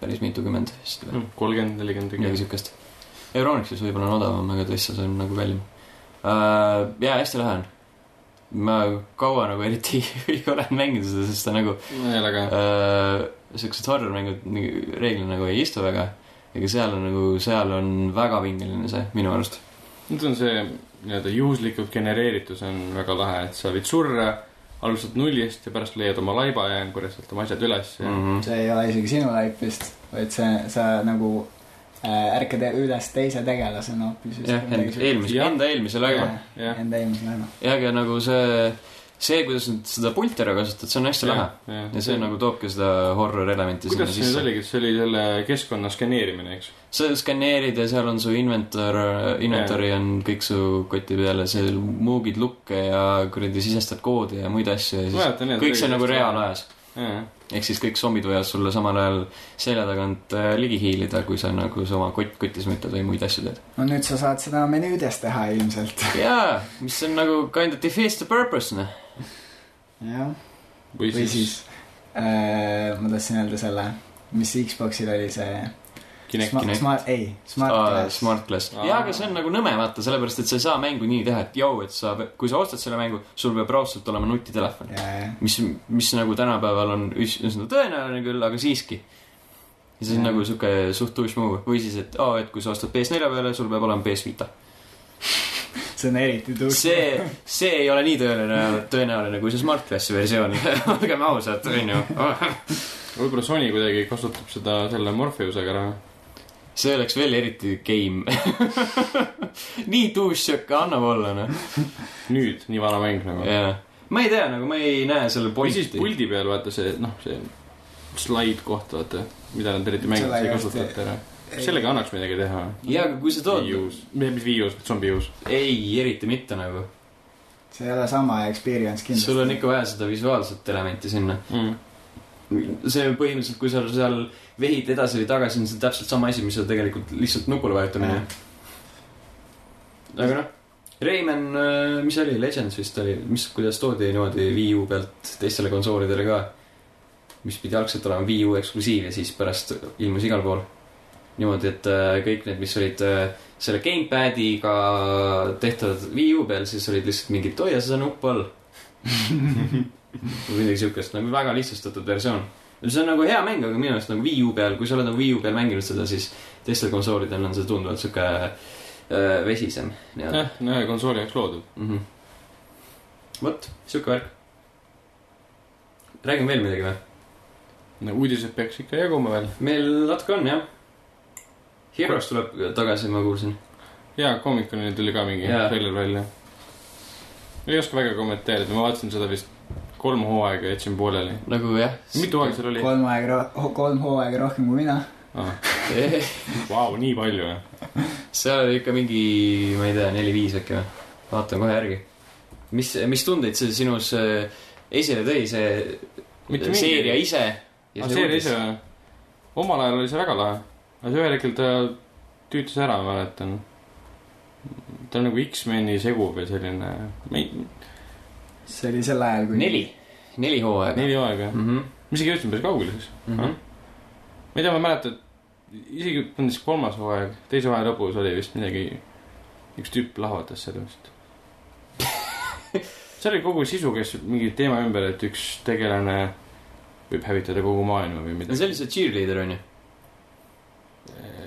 Speaker 1: päris mitukümmend vist
Speaker 2: Mm,
Speaker 1: või
Speaker 2: kolmkümmend , nelikümmend
Speaker 1: midagi
Speaker 2: tükki .
Speaker 1: siukest . Euronixis võib-olla on odavam , aga teistes on nagu kallim uh, . jaa , hästi lahe on . ma kaua nagu eriti ei ole mänginud seda , sest ta nagu äh,
Speaker 2: ma ei ole ka .
Speaker 1: siuksed horror-mängud nagu reeglina nagu ei istu väga , aga seal on nagu , seal on väga pingeline see minu arust .
Speaker 2: nüüd on see nii-öelda juhuslikult genereeritus on väga lahe , et sa võid surra , alustad nullist ja pärast leiad oma laiba ja korjad sealt oma asjad üles ja mm.
Speaker 1: -hmm.
Speaker 3: see ei ole isegi sinu laip vist , vaid see , sa nagu äh, ärkad üles teise tegelasena hoopis .
Speaker 1: jah , eelmise ,
Speaker 2: Jah.
Speaker 1: enda eelmise laiva .
Speaker 2: jah ,
Speaker 3: Enda eelmise laeva .
Speaker 1: jah , aga nagu see , see , kuidas nad seda pulti ära kasutavad , see on hästi lahe . ja see nagu toobki seda horror elementi sinna
Speaker 2: kuidas see nüüd
Speaker 1: sisse .
Speaker 2: oligi , see oli selle keskkonna skaneerimine , eks ?
Speaker 1: sa skaneerid ja seal on su inventar , inventari on kõik su koti peal ja seal muugid lukke ja kuradi sisestad koodi ja muid asju ja siis
Speaker 2: mäletan jah .
Speaker 1: kõik see on nagu . reaalajas . ehk siis kõik zombid võivad sulle samal ajal selja tagant äh, ligi hiilida , kui sa nagu sa oma kott , kotismõtted või muid asju teed .
Speaker 3: no nüüd sa saad seda menüüdes teha ilmselt .
Speaker 1: jaa , mis on nagu kind of defeats the purpose , noh .
Speaker 3: jah ,
Speaker 2: või
Speaker 3: või
Speaker 2: siis
Speaker 3: siis äh, ma tahtsin öelda selle , mis Xboxil oli see .
Speaker 2: Kinect .
Speaker 1: Kinect.
Speaker 3: Smart , ei , Smart
Speaker 1: Aa,
Speaker 3: Glass .
Speaker 1: Smart Glass .
Speaker 2: Aa.
Speaker 1: jaa , aga see on nagu nõme , vaata , sellepärast et sa ei saa mängu nii teha , et jõu , et sa , kui sa ostad selle mängu , sul peab raudselt olema nutitelefon .
Speaker 3: jajah ,
Speaker 1: mis , mis nagu tänapäeval on üs- üsna tõenäoline küll , aga siiski . ja see on
Speaker 3: Jah.
Speaker 1: nagu sihuke suht tušmuu või siis , et aa , et kui sa ostad PS4 peale , sul peab olema PS Vita .
Speaker 3: see on eriti tuus .
Speaker 1: see , see ei ole nii tõenäoline , tõenäoline kui see Smart Glassi versioon , olgem ausad , onju .
Speaker 2: võib-olla Sony kuidagi kasutab seda selle Morpheusega ära .
Speaker 1: see oleks veel eriti game . nii tuš sihuke , annab olla , noh .
Speaker 2: nüüd , nii vana mäng nagu .
Speaker 1: jaa , ma ei tea , nagu ma ei näe selle
Speaker 2: või siis
Speaker 1: pointi .
Speaker 2: puldi peal vaata see , noh , see slaid koht , vaata , mida nad eriti mängivad , see
Speaker 3: Sellega
Speaker 2: kasutavad ära .
Speaker 3: ei.
Speaker 2: sellega annaks midagi teha .
Speaker 1: jaa , aga kui sa tood ,
Speaker 2: Viius , mitte Viius , zombi juus .
Speaker 1: ei , eriti mitte nagu .
Speaker 3: see ei ole sama experience kindlasti .
Speaker 1: sul on ikka vaja seda visuaalset elementi sinna . see põhimõtteliselt , kui sa seal vehid edasi või tagasi , on see täpselt sama asi , mis on tegelikult lihtsalt nupule vajutamine . aga noh , Rayman , mis see oli , Legends vist oli , mis , kuidas toodi niimoodi Wii U pealt teistele konsoolidele ka , mis pidi algselt olema Wii U eksklusiiv ja siis pärast ilmus igal pool . niimoodi , et äh, kõik need , mis olid äh, selle gamepadiga tehtud Wii U peal , siis olid lihtsalt mingid , hoia seda nuppu all või midagi siukest , nagu väga lihtsustatud versioon . see on nagu hea mäng , aga minu arust nagu Wii U peal , kui sa oled nagu Wii U peal mänginud seda , siis teistel konsoolidel on see tunduvalt siuke äh, vesisem nii-öelda
Speaker 2: jah , no ühe konsooli jaoks loodud .
Speaker 1: mm -hmm. . vot , siuke värk . räägime veel midagi või ?
Speaker 2: uudised peaks ikka jaguma veel .
Speaker 1: meil natuke on jah . Heroes tuleb tagasi , ma kuulsin .
Speaker 2: jaa , Comic-Conil tuli ka mingi
Speaker 1: Jaa.
Speaker 2: treiler välja . ei oska väga kommenteerida , ma vaatasin seda vist kolm hooaega ja jätsin pooleli .
Speaker 1: nagu jah .
Speaker 2: mitu hooaega seal oli ?
Speaker 3: kolm aega , kolm hooaega rohkem kui mina .
Speaker 2: Vau , nii palju või ?
Speaker 1: seal oli ikka mingi , ma ei tea , neli-viis äkki või ? vaatan kohe järgi . mis , mis tundeid see sinus äh, esile tõi , see
Speaker 2: Mitte mingi-
Speaker 1: seeria ise ?
Speaker 2: aga see oli ise , omal ajal oli see väga lahe , aga see ühel hetkel ta tüütas ära , ma mäletan . ta on nagu X-meni segu või selline ,
Speaker 3: see oli sel ajal , kui .
Speaker 1: neli , neli hooaega . Mhm.
Speaker 2: neli hooaega , Ah, ma isegi jõudsin päris kaugele siis . ma ei tea , ma mäletan , isegi tundis kolmas hooaeg , teise hooaja lõpus oli vist midagi , üks tüüp lahvatas seal vist . see oli kogu sisu , kes mingi teema ümber , et üks tegelane võib hävitada kogu maailma või midagi .
Speaker 1: see oli see cheerleader onju .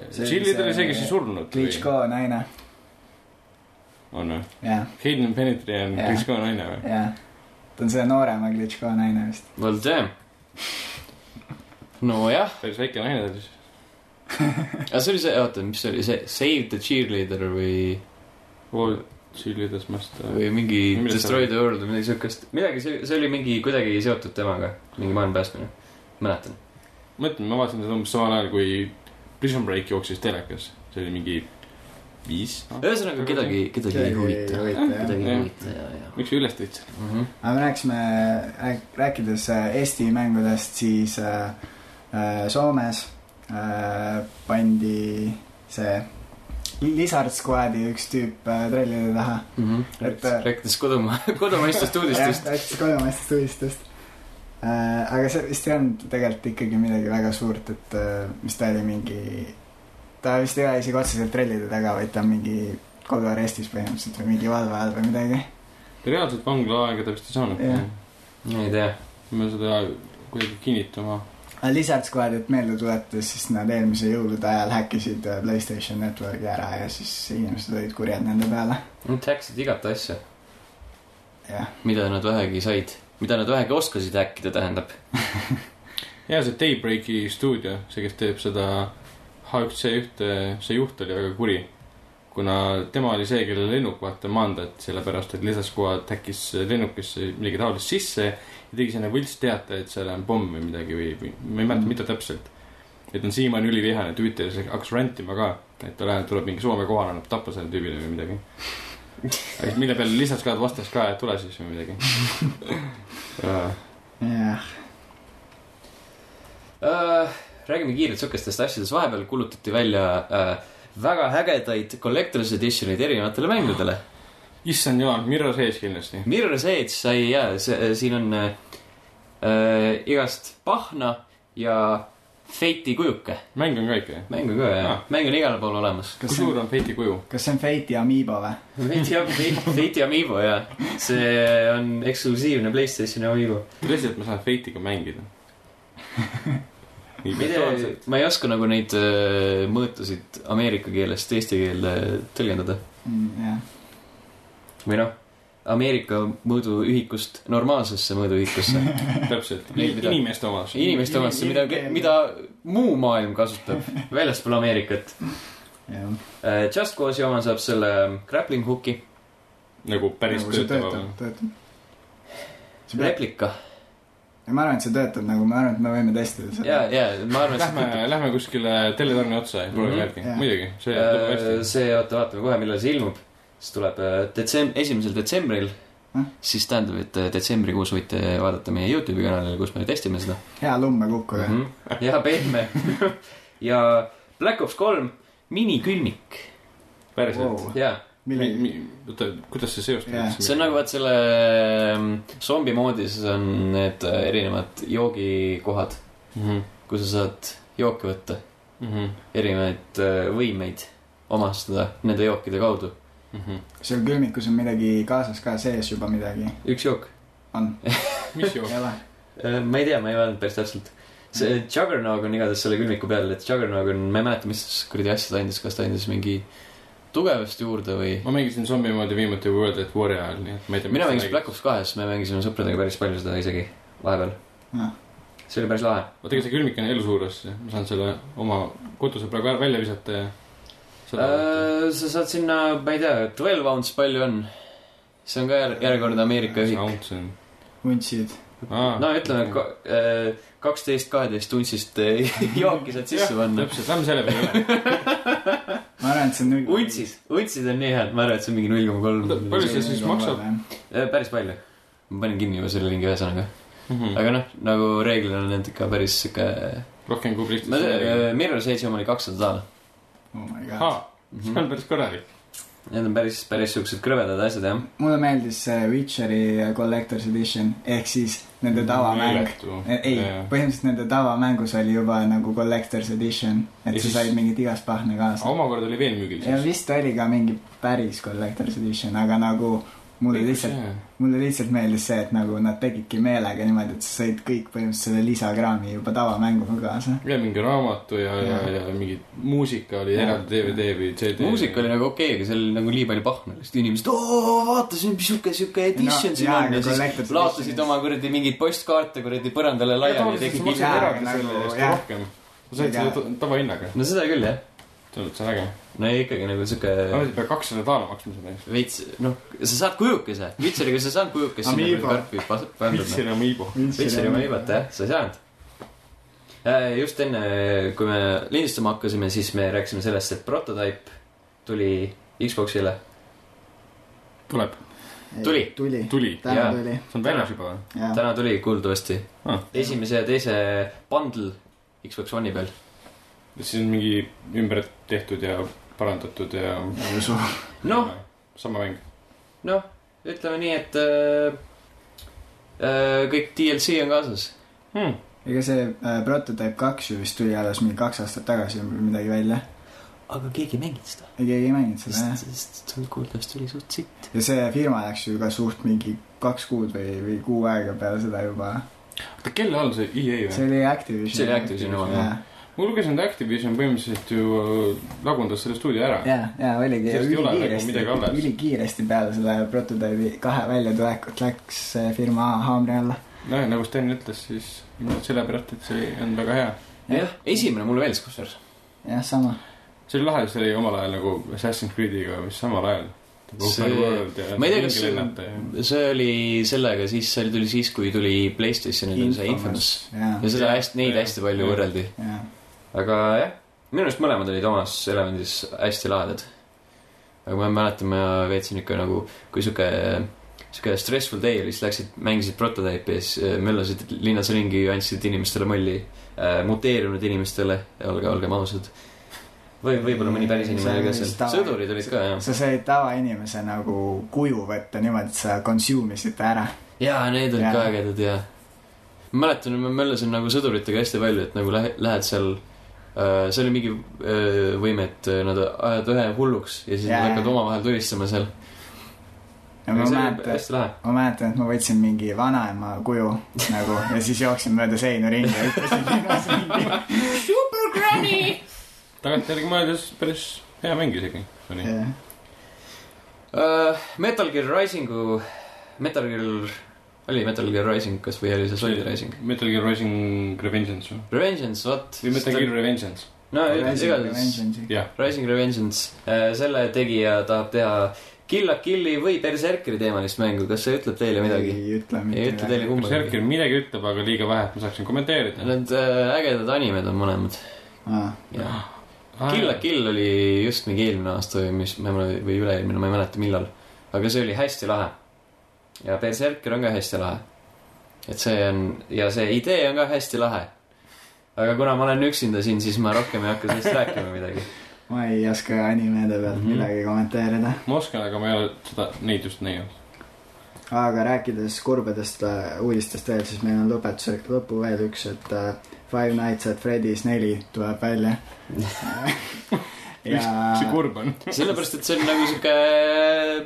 Speaker 3: See oli
Speaker 2: Chillid oli
Speaker 3: see
Speaker 2: see , kes ei surnud või ?
Speaker 3: Klitško naine ,
Speaker 2: on või ?
Speaker 3: jah ,
Speaker 2: Hayden Penetri on
Speaker 3: Jah.
Speaker 2: Klitško naine või ?
Speaker 3: jah . ta on see noorema Klitško naine vist .
Speaker 1: Well damn . nojah ,
Speaker 2: päris väike naine ta siis .
Speaker 1: aga see oli see , oota , mis see oli , see Save the cheerleader või ,
Speaker 2: All Chillides must .
Speaker 1: või mingi
Speaker 2: Millest
Speaker 1: Destroy
Speaker 2: see
Speaker 1: the world või midagi siukest . midagi , see , see oli mingi kuidagi seotud temaga , mingi maailma päästmine . mäletan .
Speaker 2: mõtlen , ma vaatasin seda umbes samal ajal , kui Prison Break jooksis telekas . see oli mingi viis noh. no. .
Speaker 1: ühesõnaga kedagi , kedagi ei huvita .
Speaker 3: aga
Speaker 1: kedagi
Speaker 2: Jah.
Speaker 1: ei huvita ja , ja
Speaker 2: miks sa üles tõid selle ?
Speaker 1: mm . -hmm.
Speaker 3: me rääkisime , rääkides äh, Eesti mängudest , siis äh, äh, Soomes äh, pandi see Lizard Squadi üks tüüp äh, trellide taha .
Speaker 1: Mm -hmm.
Speaker 3: Et-
Speaker 1: rääkides rääkides kodumaa , kodumaistest uudistest .
Speaker 3: jah , rääkis kodumaistest uudistest . aga see vist ei olnud tegelikult ikkagi midagi väga suurt , et äh, mis ta oli mingi , ta vist ei ole isegi otseselt trellide taga , vaid ta on mingi koduarestis põhimõtteliselt või mingi valve all või midagi .
Speaker 2: reaalselt vanglaaega ta vist ei saanud
Speaker 3: Jah. .
Speaker 1: ma ei tea ,
Speaker 2: ma seda kuidagi kinnitama .
Speaker 3: aga Lizard Squadit meelde tuletades , siis nad eelmise jõulude ajal häkkisid äh, Playstation Networki ära ja siis inimesed olid kurjad nende peale .
Speaker 1: nad häkkisid igat asja ,
Speaker 3: jah ,
Speaker 1: mida nad vähegi said , mida nad vähegi oskasid häkkida , tähendab .
Speaker 2: ja see Daybreaki stuudio , see , kes teeb seda H1C1 , see juht oli väga kuri . kuna tema oli see, kellele lennuk vaata maandati , sellepärast et lisaskuvand häkkis lennukisse midagi taolist sisse ja tegi selline võlts teate , et seal on pomm või midagi või , või ma ei mäleta , mida täpselt . et on siiamaani ülivihane , Twitteris hakkas rantima ka , et ta läheb , tuleb mingi Soome kohale , annab tappa selle tüübile või midagi . mille peale lisaskuvand vastas ka , et tule siis või midagi .
Speaker 3: jah ,
Speaker 1: Äh, räägime kiirelt sihukestest asjadest , vahepeal kuulutati välja äh, väga ägedaid collector's edition'id erinevatele mängudele .
Speaker 2: issand jumal , Mirro sees kindlasti .
Speaker 1: Mirror's Edge sai ja siin on äh, äh, igast pahna ja feiti kujuke .
Speaker 2: mäng on ka ikka , jah ?
Speaker 1: mäng on ka jah
Speaker 2: Ah.
Speaker 1: ah. , mäng on igal pool olemas .
Speaker 2: kui
Speaker 3: kas see
Speaker 2: suur
Speaker 3: on ,
Speaker 2: on Feiti kuju ?
Speaker 3: kas see on Fate'i Amiibo või ?
Speaker 1: feiti , feiti Amiibo ja see on eksklusiivne Playstationi Amiibo .
Speaker 2: tõsiselt ma saan Feitiga mängida .
Speaker 1: ma
Speaker 2: nii
Speaker 1: ei tea
Speaker 2: virtuaalselt .,
Speaker 1: ma ei oska nagu neid äh, mõõtusid ameerika keelest eesti keelde tõlgendada .
Speaker 3: Mm, jah ,
Speaker 1: või noh , Ameerika mõõduühikust normaalsesse mõõduühikusse ,
Speaker 2: täpselt ,
Speaker 1: Neid, mida-
Speaker 2: inimeste omas .
Speaker 1: inimeste omasse , mida , mida muu maailm kasutab väljaspool Ameerikat .
Speaker 3: jah .
Speaker 1: Just Cause'i oma saab selle ähm, grappling hook'i ,
Speaker 2: nagu päris töötava .
Speaker 3: töötab . see peab ,
Speaker 1: replika
Speaker 3: ma arvan , et see töötab nagu , ma arvan , et me võime testida seda
Speaker 1: ja ,. ja ma arvan , et see
Speaker 2: Lähme , lähme kuskile teletorni otsa ja proovime
Speaker 1: Mhm.
Speaker 2: järgi
Speaker 3: Jah. ,
Speaker 2: muidugi , see lõpeb
Speaker 1: Äh,
Speaker 2: hästi .
Speaker 1: see , oota , vaatame kohe , millal see ilmub . see tuleb äh, detsem- , esimesel detsembril
Speaker 3: Hm? .
Speaker 1: siis tähendab , et äh, detsembrikuus võite vaadata meie Youtube'i kanalile , kus me testime seda
Speaker 3: hea lummekukkuja mm .
Speaker 1: Mhm. ja pehme . ja Black Ops kolm , minikülmik .
Speaker 2: päriselt .
Speaker 1: jaa ,
Speaker 3: millegi ,
Speaker 2: oota , kuidas see seostub
Speaker 3: Jah.
Speaker 1: see on nagu vaat selle ähm, zombi moodis on need äh, erinevad joogikohad ,
Speaker 2: vaata .
Speaker 1: kus sa saad jooke võtta ,
Speaker 2: mhm,
Speaker 1: erinevaid äh, võimeid omastada nende jookide kaudu .
Speaker 2: mhm.
Speaker 3: seal külmikus on midagi kaasas ka sees juba midagi ,
Speaker 1: üks jook
Speaker 3: on ,
Speaker 2: mis jook ?
Speaker 3: ei ole ?
Speaker 1: Äh, ma ei tea , ma ei vaadanud päris täpselt . see Juggernog on igatahes selle külmiku peal , et Juggernog on , ma ei mäleta , mis kuradi asja ta andis , kas ta andis mingi tugevust juurde või .
Speaker 2: ma mängisin zombi moodi viimati World at War'i ajal , nii et ma ei tea .
Speaker 1: mina mängisin Black Ops kahes , me mängisime sõpradega päris palju seda isegi vahepeal
Speaker 3: Jah. .
Speaker 1: see oli päris lahe .
Speaker 2: oota , ega see külmik on elusuures , ma saan selle oma koduse praegu ära- välja visata ja .
Speaker 1: Äh, sa saad sinna , ma ei tea , twelve ounce palju on ? see on ka jär- , järjekordne Ameerika ühik .
Speaker 3: vuntsid .
Speaker 1: no ütleme , kaksteist , kaheteist untsist eh, jooki saad sisse panna .
Speaker 2: täpselt , lähme selle peale üle .
Speaker 3: ma arvan , et see on null .
Speaker 1: untsid , untsid on nii head , ma arvan , et see on mingi null koma kolm .
Speaker 2: Palju see siis maksab? ?
Speaker 1: Eh, päris palju . ma panin kinni juba selle lingi ühesõnaga .
Speaker 2: Mhm.
Speaker 3: Mhm.
Speaker 1: aga noh , nagu reeglina on need ikka päris sihuke .
Speaker 2: rohkem kui Pristis .
Speaker 1: Mirror Sage'i oma oli kakssada daala .
Speaker 3: oh my
Speaker 1: äh,
Speaker 3: god .
Speaker 1: Mhm.
Speaker 2: see on päris korralik .
Speaker 1: Need on päris , päris siuksed krõbedad asjad jah .
Speaker 3: mulle meeldis see Witcheri äh, Collector's Edition ehk siis nende tavamäng . ei , põhimõtteliselt nende tavamängus oli juba nagu Collector's Edition , et
Speaker 2: Ja
Speaker 3: sa
Speaker 2: siis-
Speaker 3: said mingit igast pahna kaasa .
Speaker 2: omakorda oli veel müügil
Speaker 3: ja vist oli ka mingi päris Collector's Edition , aga nagu mulle lihtsalt ,. mulle lihtsalt meeldis see , et nagu nad tegidki meelega niimoodi , et sa said kõik põhimõtteliselt selle lisakraami juba tavamänguga kaasa .
Speaker 2: ja mingi raamatu ja , ja , ja mingi muusika oli eraldi DVD või CD .
Speaker 1: muusika oli nagu okei , aga seal oli nagu nii palju pahna , sest inimesed , oo , vaata , see on siuke , siuke edition
Speaker 3: No,
Speaker 1: siin
Speaker 3: jaa,
Speaker 1: on
Speaker 3: aga
Speaker 1: ja siis
Speaker 3: collector's
Speaker 1: laotasid
Speaker 3: edition'is-
Speaker 1: oma kuradi mingeid postkaarte kuradi põrandale laiali ja tegid
Speaker 3: maksad-
Speaker 1: kinni .
Speaker 2: rohkem . sa said selle tavahinnaga ,
Speaker 1: no seda küll jah .
Speaker 2: see on üldse äge .
Speaker 1: no ja ikkagi nagu siuke
Speaker 2: ma pidin pea kakssada daala maksma selle eest .
Speaker 1: veits , noh , sa saad kujukese , Witcheriga sa saad kujukese .
Speaker 3: Amiibo.
Speaker 1: karpi pas- pandud noh.
Speaker 2: mis nagu siin on Miibo ?
Speaker 1: Witcheri oma viimati jah , sa ei saanud . just enne , kui me lindistama hakkasime , siis me rääkisime sellest , et Prototype tuli Xbox'ile .
Speaker 2: tuleb ,
Speaker 1: Tuli.
Speaker 3: tuli .
Speaker 2: tuli ,
Speaker 3: täna
Speaker 1: Jaa.
Speaker 3: tuli ,
Speaker 2: see on väljas juba või ?
Speaker 3: jah .
Speaker 1: täna tuli kuuldavasti
Speaker 2: Ah.
Speaker 1: esimese ja teise bundle Xbox One'i peal .
Speaker 2: siis on mingi ümber tehtud ja parandatud ja .
Speaker 1: noh ,
Speaker 2: sama mäng .
Speaker 1: noh , ütleme nii , et äh, äh, kõik DLC on kaasas .
Speaker 3: ega see äh, Prototype kaks ju vist tuli alles mingi kaks aastat tagasi või midagi välja .
Speaker 1: aga keegi ei mänginud seda ,
Speaker 3: ei , keegi ei mänginud seda jah .
Speaker 1: sest see kuuldavasti oli suht sitt .
Speaker 3: ja see firma läks ju ka suht mingi kaks kuud või , või kuu aega peale seda juba .
Speaker 2: oota , kelle all see EA või ?
Speaker 3: see oli Activision .
Speaker 1: See oli Activisioni oma, jah. .
Speaker 2: ma lugesin , et Activision põhimõtteliselt ju äh, lagundas selle stuudio ära .
Speaker 3: ja , ja oligi .
Speaker 2: Sellest ei ole nagu midagi alles.
Speaker 3: ülikiiresti peale selle Prototype'i kahe väljatulekut läks see firma haamri alla .
Speaker 2: nojah , nagu Sten ütles , siis ilmselt sellepärast , et see on väga hea .
Speaker 1: jah , esimene mulle meeldis kusjuures .
Speaker 3: jah , sama .
Speaker 2: see oli lahe , see oli omal ajal nagu Assassin's Creed'iga vist samal ajal .
Speaker 1: See- ma ei tea, kas see- see oli sellega siis , see tuli siis , kui tuli Playstationil tuli see Infamous .
Speaker 3: jah ,
Speaker 1: ja seda
Speaker 2: Jah,
Speaker 1: hästi , neid
Speaker 2: jah,
Speaker 1: hästi palju
Speaker 2: jah.
Speaker 1: võrreldi .
Speaker 3: jah .
Speaker 1: aga jah , minu arust mõlemad olid omas elemendis hästi lahedad . aga ma mäletan , ma veetsin ikka nagu , kui sihuke , sihuke stressful day oli , siis läksid , mängisid prototüüpi ja siis äh, möllasid linnas ringi , andsid inimestele mulli , muteerunud inimestele , olge , olgem ausad . või võib-olla mõni päris inimene oli ka seal , sõdurid olid ka jah .
Speaker 3: sa said tavainimese nagu kuju võtta niimoodi , et sa consume isid ta ära .
Speaker 1: jaa , need olid
Speaker 3: Jaa.
Speaker 1: ka ägedad ja . ma mäletan , ma möllasin nagu sõduritega hästi palju , et nagu lähe- , lähed seal äh, , see oli mingi äh, võime , et äh, nad ajavad ühe hulluks ja siis
Speaker 3: Jaa.
Speaker 1: nad hakkavad omavahel tulistama seal .
Speaker 3: ja ma
Speaker 1: see oli
Speaker 3: mäletan ,
Speaker 1: hästi lahe .
Speaker 3: ma mäletan , et ma võtsin mingi vanaema kuju nagu ja siis jooksin mööda seina ringi ja hüppasin linnas ringi .
Speaker 2: tagantjärgi mõeldes päris hea mäng isegi . oli
Speaker 3: Jah.
Speaker 1: Äh, Metal Gear Risingu , Metal Gear , oli Metal Gear Rising kas või oli see Solid Rising ?
Speaker 2: Metal Gear Rising Revengeance või ?
Speaker 1: Revengeance , vot .
Speaker 2: või Metal Gear Revengeance ,
Speaker 1: no
Speaker 3: Rising
Speaker 1: igatahes ,
Speaker 3: Revengeance'i.
Speaker 2: jah .
Speaker 1: Rising Revengeance , selle tegija tahab teha Kill la Killi või Berserkeri teemalist mängu , kas see ütleb teile midagi ?
Speaker 3: ei ütle mitte
Speaker 1: ei ütle teile kumbagi .
Speaker 2: Berserkil midagi ütleb , aga liiga vähe , et ma saaksin kommenteerida .
Speaker 1: Need äh, ägedad animed on mõlemad .
Speaker 3: aa ,
Speaker 2: Ah,
Speaker 1: Kill la . Kill oli just mingi eelmine aasta või mis , ma ei mäleta , või üle-eelmine , ma ei mäleta , millal . aga see oli hästi lahe . ja Berserker on ka hästi lahe . et see on , ja see idee on ka hästi lahe . aga kuna ma olen üksinda siin , siis ma rohkem ei hakka sellest rääkima midagi .
Speaker 3: ma ei oska animede pealt mm
Speaker 1: Mhm.
Speaker 3: -hmm. midagi kommenteerida .
Speaker 2: ma oskan , aga ma ei ole seda , neid just näinud .
Speaker 3: aga rääkides kurbadest äh, uudistest veel , siis meil on lõpetuseks , lõppu veel üks , et äh, Five Nights at Freddy's neli tuleb välja .
Speaker 2: see kurb on .
Speaker 1: sellepärast , et see on nagu sihuke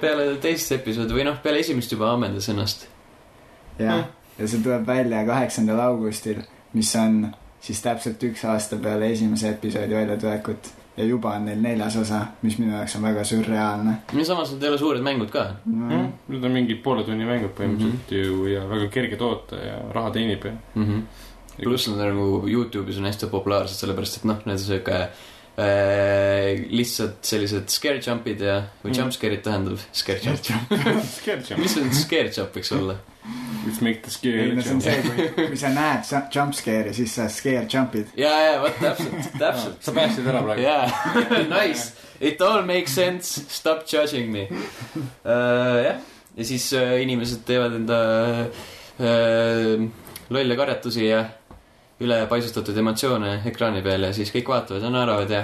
Speaker 1: peale teist episoodi või noh , peale esimest juba ammendas ennast .
Speaker 3: jah , ja see tuleb välja kaheksandal augustil , mis on siis täpselt üks aasta peale esimese episoodi väljatulekut ja juba on neil neljas osa , mis minu jaoks on väga sürreaalne
Speaker 1: ja samas need ei ole suured mängud ka .
Speaker 3: mm .
Speaker 2: Mhm.
Speaker 3: Mhm. -hmm.
Speaker 2: Need on mingid poole tunni mängud põhimõtteliselt ju ja väga kerge toota ja raha teenib ja .
Speaker 1: mm . -hmm. pluss nad nagu Youtube'is on hästi populaarsed , sellepärast et noh , need on sihuke äh, lihtsalt sellised scare jump'id ja , või
Speaker 2: Mm.
Speaker 1: jumpscare'id tähendab , Mhm. scare jump .
Speaker 2: Scared
Speaker 1: mis see scare jump võiks olla ?
Speaker 2: Let's make the
Speaker 3: ei
Speaker 2: scare
Speaker 3: no see on see , kui , kui sa näed sa- jumpscare'i , siis sa scare jump'id .
Speaker 1: ja , ja vot täpselt , täpselt .
Speaker 2: sa päästsid ära praegu .
Speaker 1: jaa , nice , it all makes sense , stop judging me uh, . jah , ja siis uh, inimesed teevad enda uh, lolle karjatusi ja ülepaisutatud emotsioone ekraani peal ja siis kõik vaatavad ja naeravad ja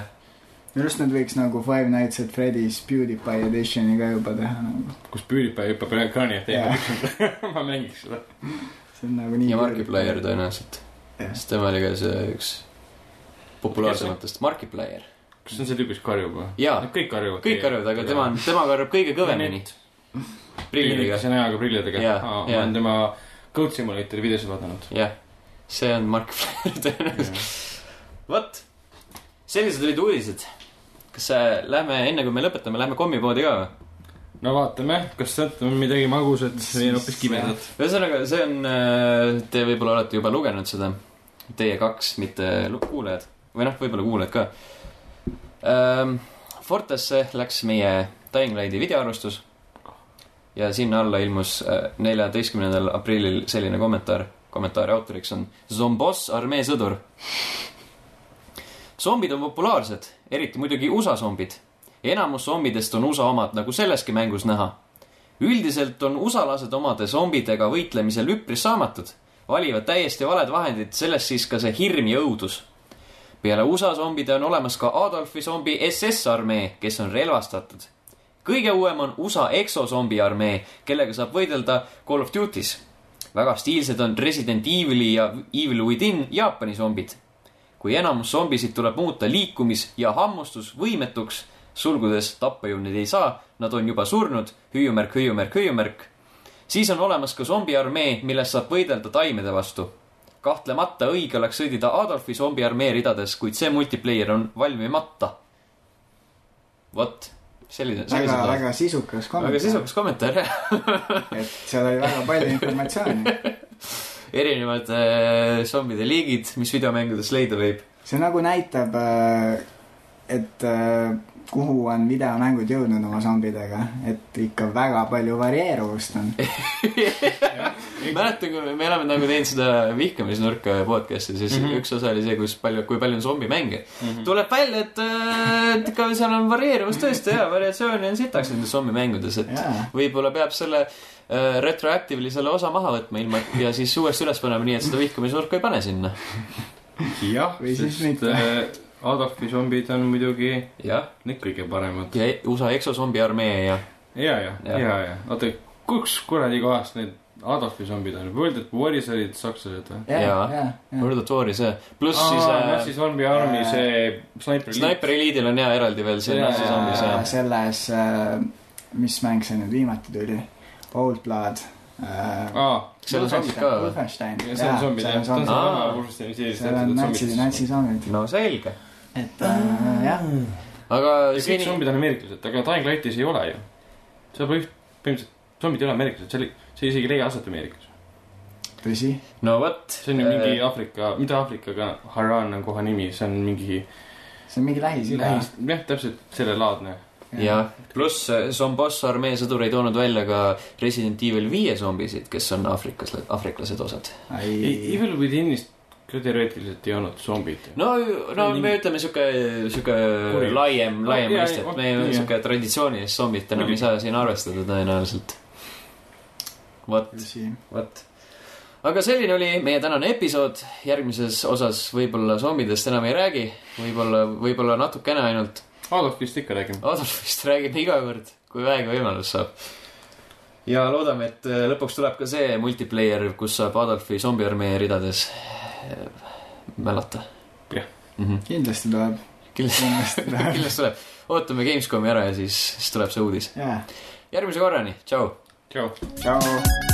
Speaker 3: minu arust nad võiks nagu Five Nights at Freddy's PewDiePie editioni ka juba teha nagu .
Speaker 2: kus püüdipäev hüppab üle ekraani ja
Speaker 3: Jaa.
Speaker 2: teeb . ma mängiks seda .
Speaker 3: see on nagu nii .
Speaker 1: ja Markiplier . tõenäoliselt ,
Speaker 3: Jah.
Speaker 1: sest tema oli ka see üks populaarsematest , Markiplier .
Speaker 2: kas see on see tüüp , kes karjub või ?
Speaker 1: jaa ,
Speaker 2: kõik karjuvad .
Speaker 1: kõik karjuvad , aga tema on , tema karjub kõige kõvemini . prillidega ,
Speaker 2: lühikese näoga prillidega .
Speaker 1: Jaa,
Speaker 2: ma
Speaker 1: jaa.
Speaker 2: olen tema Code Simulatori videosid vaadanud .
Speaker 1: jah . see on Markiplier tõenäoliselt . vot , sellised olid uudised . kas äh, lähme , enne kui me lõpetame , lähme kommipoodi ka või ?
Speaker 2: no vaatame , kas sealt on midagi magusat või hoopis kibedat .
Speaker 1: ühesõnaga , see on , te võib-olla olete juba lugenud seda , teie kaks , mitte lu- kuulajad või noh , võib-olla kuulajad ka ähm, . Fortesse läks meie Dying Lighti videoarvustus ja sinna alla ilmus äh, neljateistkümnendal aprillil selline kommentaar , kommentaari autoriks on Zombos armee sõdur . zombid on populaarsed , eriti muidugi USA zombid . enamus zombidest on USA omad , nagu selleski mängus näha üldiselt on usalased omade zombidega võitlemisel üpris saamatud , valivad täiesti valed vahendid , sellest siis ka see hirm ja õudus . peale USA zombide on olemas ka Adolfi zombi SS-armee , kes on relvastatud . kõige uuem on USA exozombi armee , kellega saab võidelda Call of Duty's . väga stiilsed on Resident Evil'i ja Evil Within Jaapani zombid . kui enamus zombisid tuleb muuta liikumis- ja hammustusvõimetuks , sulgudes tappa ju neid ei saa , nad on juba surnud , hüüumärk , hüüumärk , hüüumärk . siis on olemas ka zombiarmee , millest saab võidelda taimede vastu . kahtlemata õige oleks sõdida Adolfi zombiarmee ridades , kuid see multiplayer on valmimata . vot , selline .
Speaker 3: väga , väga sisukas kommentaar .
Speaker 1: väga . sisukas kommentaar , jah .
Speaker 3: et seal oli väga palju informatsiooni .
Speaker 1: erinevad äh, zombide liigid , mis videomängudes leida võib .
Speaker 3: see nagu näitab äh, et äh, kuhu on videomängud jõudnud oma zombidega , et ikka väga palju varieeruvust on .
Speaker 1: mäletan , kui me oleme nagu teinud seda vihkamisnurka podcast'i , siis mm
Speaker 2: Mhm.
Speaker 1: -hmm. üks osa oli see , kus palju , kui palju on zombimänge .
Speaker 2: -hmm.
Speaker 1: tuleb välja , et äh, et ikka seal on varieeruvus tõesti ja variatsiooni on sitaks nendes zombimängudes , et
Speaker 3: jaa ,
Speaker 1: võib-olla peab selle äh, retroactively selle osa maha võtma ilma ja siis uuesti üles panema , nii et seda vihkamisnurka ei pane sinna .
Speaker 2: jah ,
Speaker 3: Või siis
Speaker 2: sest
Speaker 3: mitte.
Speaker 2: äh, Adolfi zombid on muidugi
Speaker 1: jah ,
Speaker 2: need kõige paremad .
Speaker 1: ja e- USA eksosombi armee ja
Speaker 2: ja , ja ,
Speaker 1: Jah.
Speaker 2: ja , ja , oota , kus kuradi kohast need Adolfi zombid on , World at War'is olid sakslased või ?
Speaker 3: jaa ,
Speaker 1: Jaa.
Speaker 3: jaa , jaa .
Speaker 1: World of War'i see , pluss
Speaker 2: Nazi
Speaker 1: siis äh,
Speaker 2: zombi armi
Speaker 3: äh,
Speaker 2: see snaiper .
Speaker 1: Sniper Elite'il on ja eraldi veel see
Speaker 2: Jaa,
Speaker 1: Nazi
Speaker 2: jaa,
Speaker 1: zombis ja
Speaker 2: jaa.
Speaker 3: selles , mis mäng see nüüd viimati tuli ? Old Blood .
Speaker 2: aa ,
Speaker 1: seal on zombid ka või ? Ah,
Speaker 3: Wolfenstein .
Speaker 2: see on zombid jah , ta on see
Speaker 1: Aa.
Speaker 2: vana purustamiseeritud .
Speaker 3: seal on natsid , natsizombid ,
Speaker 1: no selge ,
Speaker 3: et äh, jah ,
Speaker 1: aga
Speaker 2: ja kõik
Speaker 1: siin
Speaker 2: zombid on ameeriklased , aga Dying Lightis ei ole ju . seal pole üht , põhimõtteliselt zombid ei ole ameeriklased , seal ei , see isegi ei leia aset Ameerikas .
Speaker 3: tõsi .
Speaker 1: no vot .
Speaker 2: see on ju mingi Aafrika , mitte Aafrikaga , Haran on koha nimi , see on mingi
Speaker 3: see on mingi Lähis-Ida .
Speaker 2: lähis , jah , täpselt sellelaadne .
Speaker 1: jah , pluss äh, Zomboss armee sõdur ei toonud välja ka Resident Evil viie zombisid , kes on aafriklased , aafriklased osad .
Speaker 3: ei ,
Speaker 2: Evil Withinist ka teoreetiliselt ei olnud zombid .
Speaker 1: no , no
Speaker 2: Mingi-
Speaker 1: me ütleme sihuke , sihuke
Speaker 2: Kurjaus.
Speaker 1: laiem , laiem
Speaker 2: Jah, jah,
Speaker 1: mõiste ,
Speaker 2: jah,
Speaker 1: et me
Speaker 2: jah.
Speaker 1: sihuke traditsioonilist zombit enam ei
Speaker 2: Muidugi.
Speaker 1: saa siin arvestada tõenäoliselt . vot ,
Speaker 3: tõsi .
Speaker 1: vot . aga selline oli meie tänane episood , järgmises osas võib-olla zombidest enam ei räägi , võib-olla , võib-olla natukene ainult .
Speaker 2: Adolfist ikka räägime .
Speaker 1: Adolfist räägime iga kord , kui vähegi võimalus saab . ja loodame , et äh, lõpuks tuleb ka see multiplayer , kus saab Adolfi zombiarmee ridades äh, mälata .
Speaker 2: Jah.
Speaker 1: Mhm.
Speaker 3: kindlasti tuleb ,
Speaker 1: kindlasti ,
Speaker 3: kindlasti tuleb .
Speaker 1: kindlasti tuleb . ootame Gamescomi ära ja siis , siis tuleb see uudis .
Speaker 3: jaa ,
Speaker 1: järgmise korrani , tšau .
Speaker 2: tšau .
Speaker 3: tšau .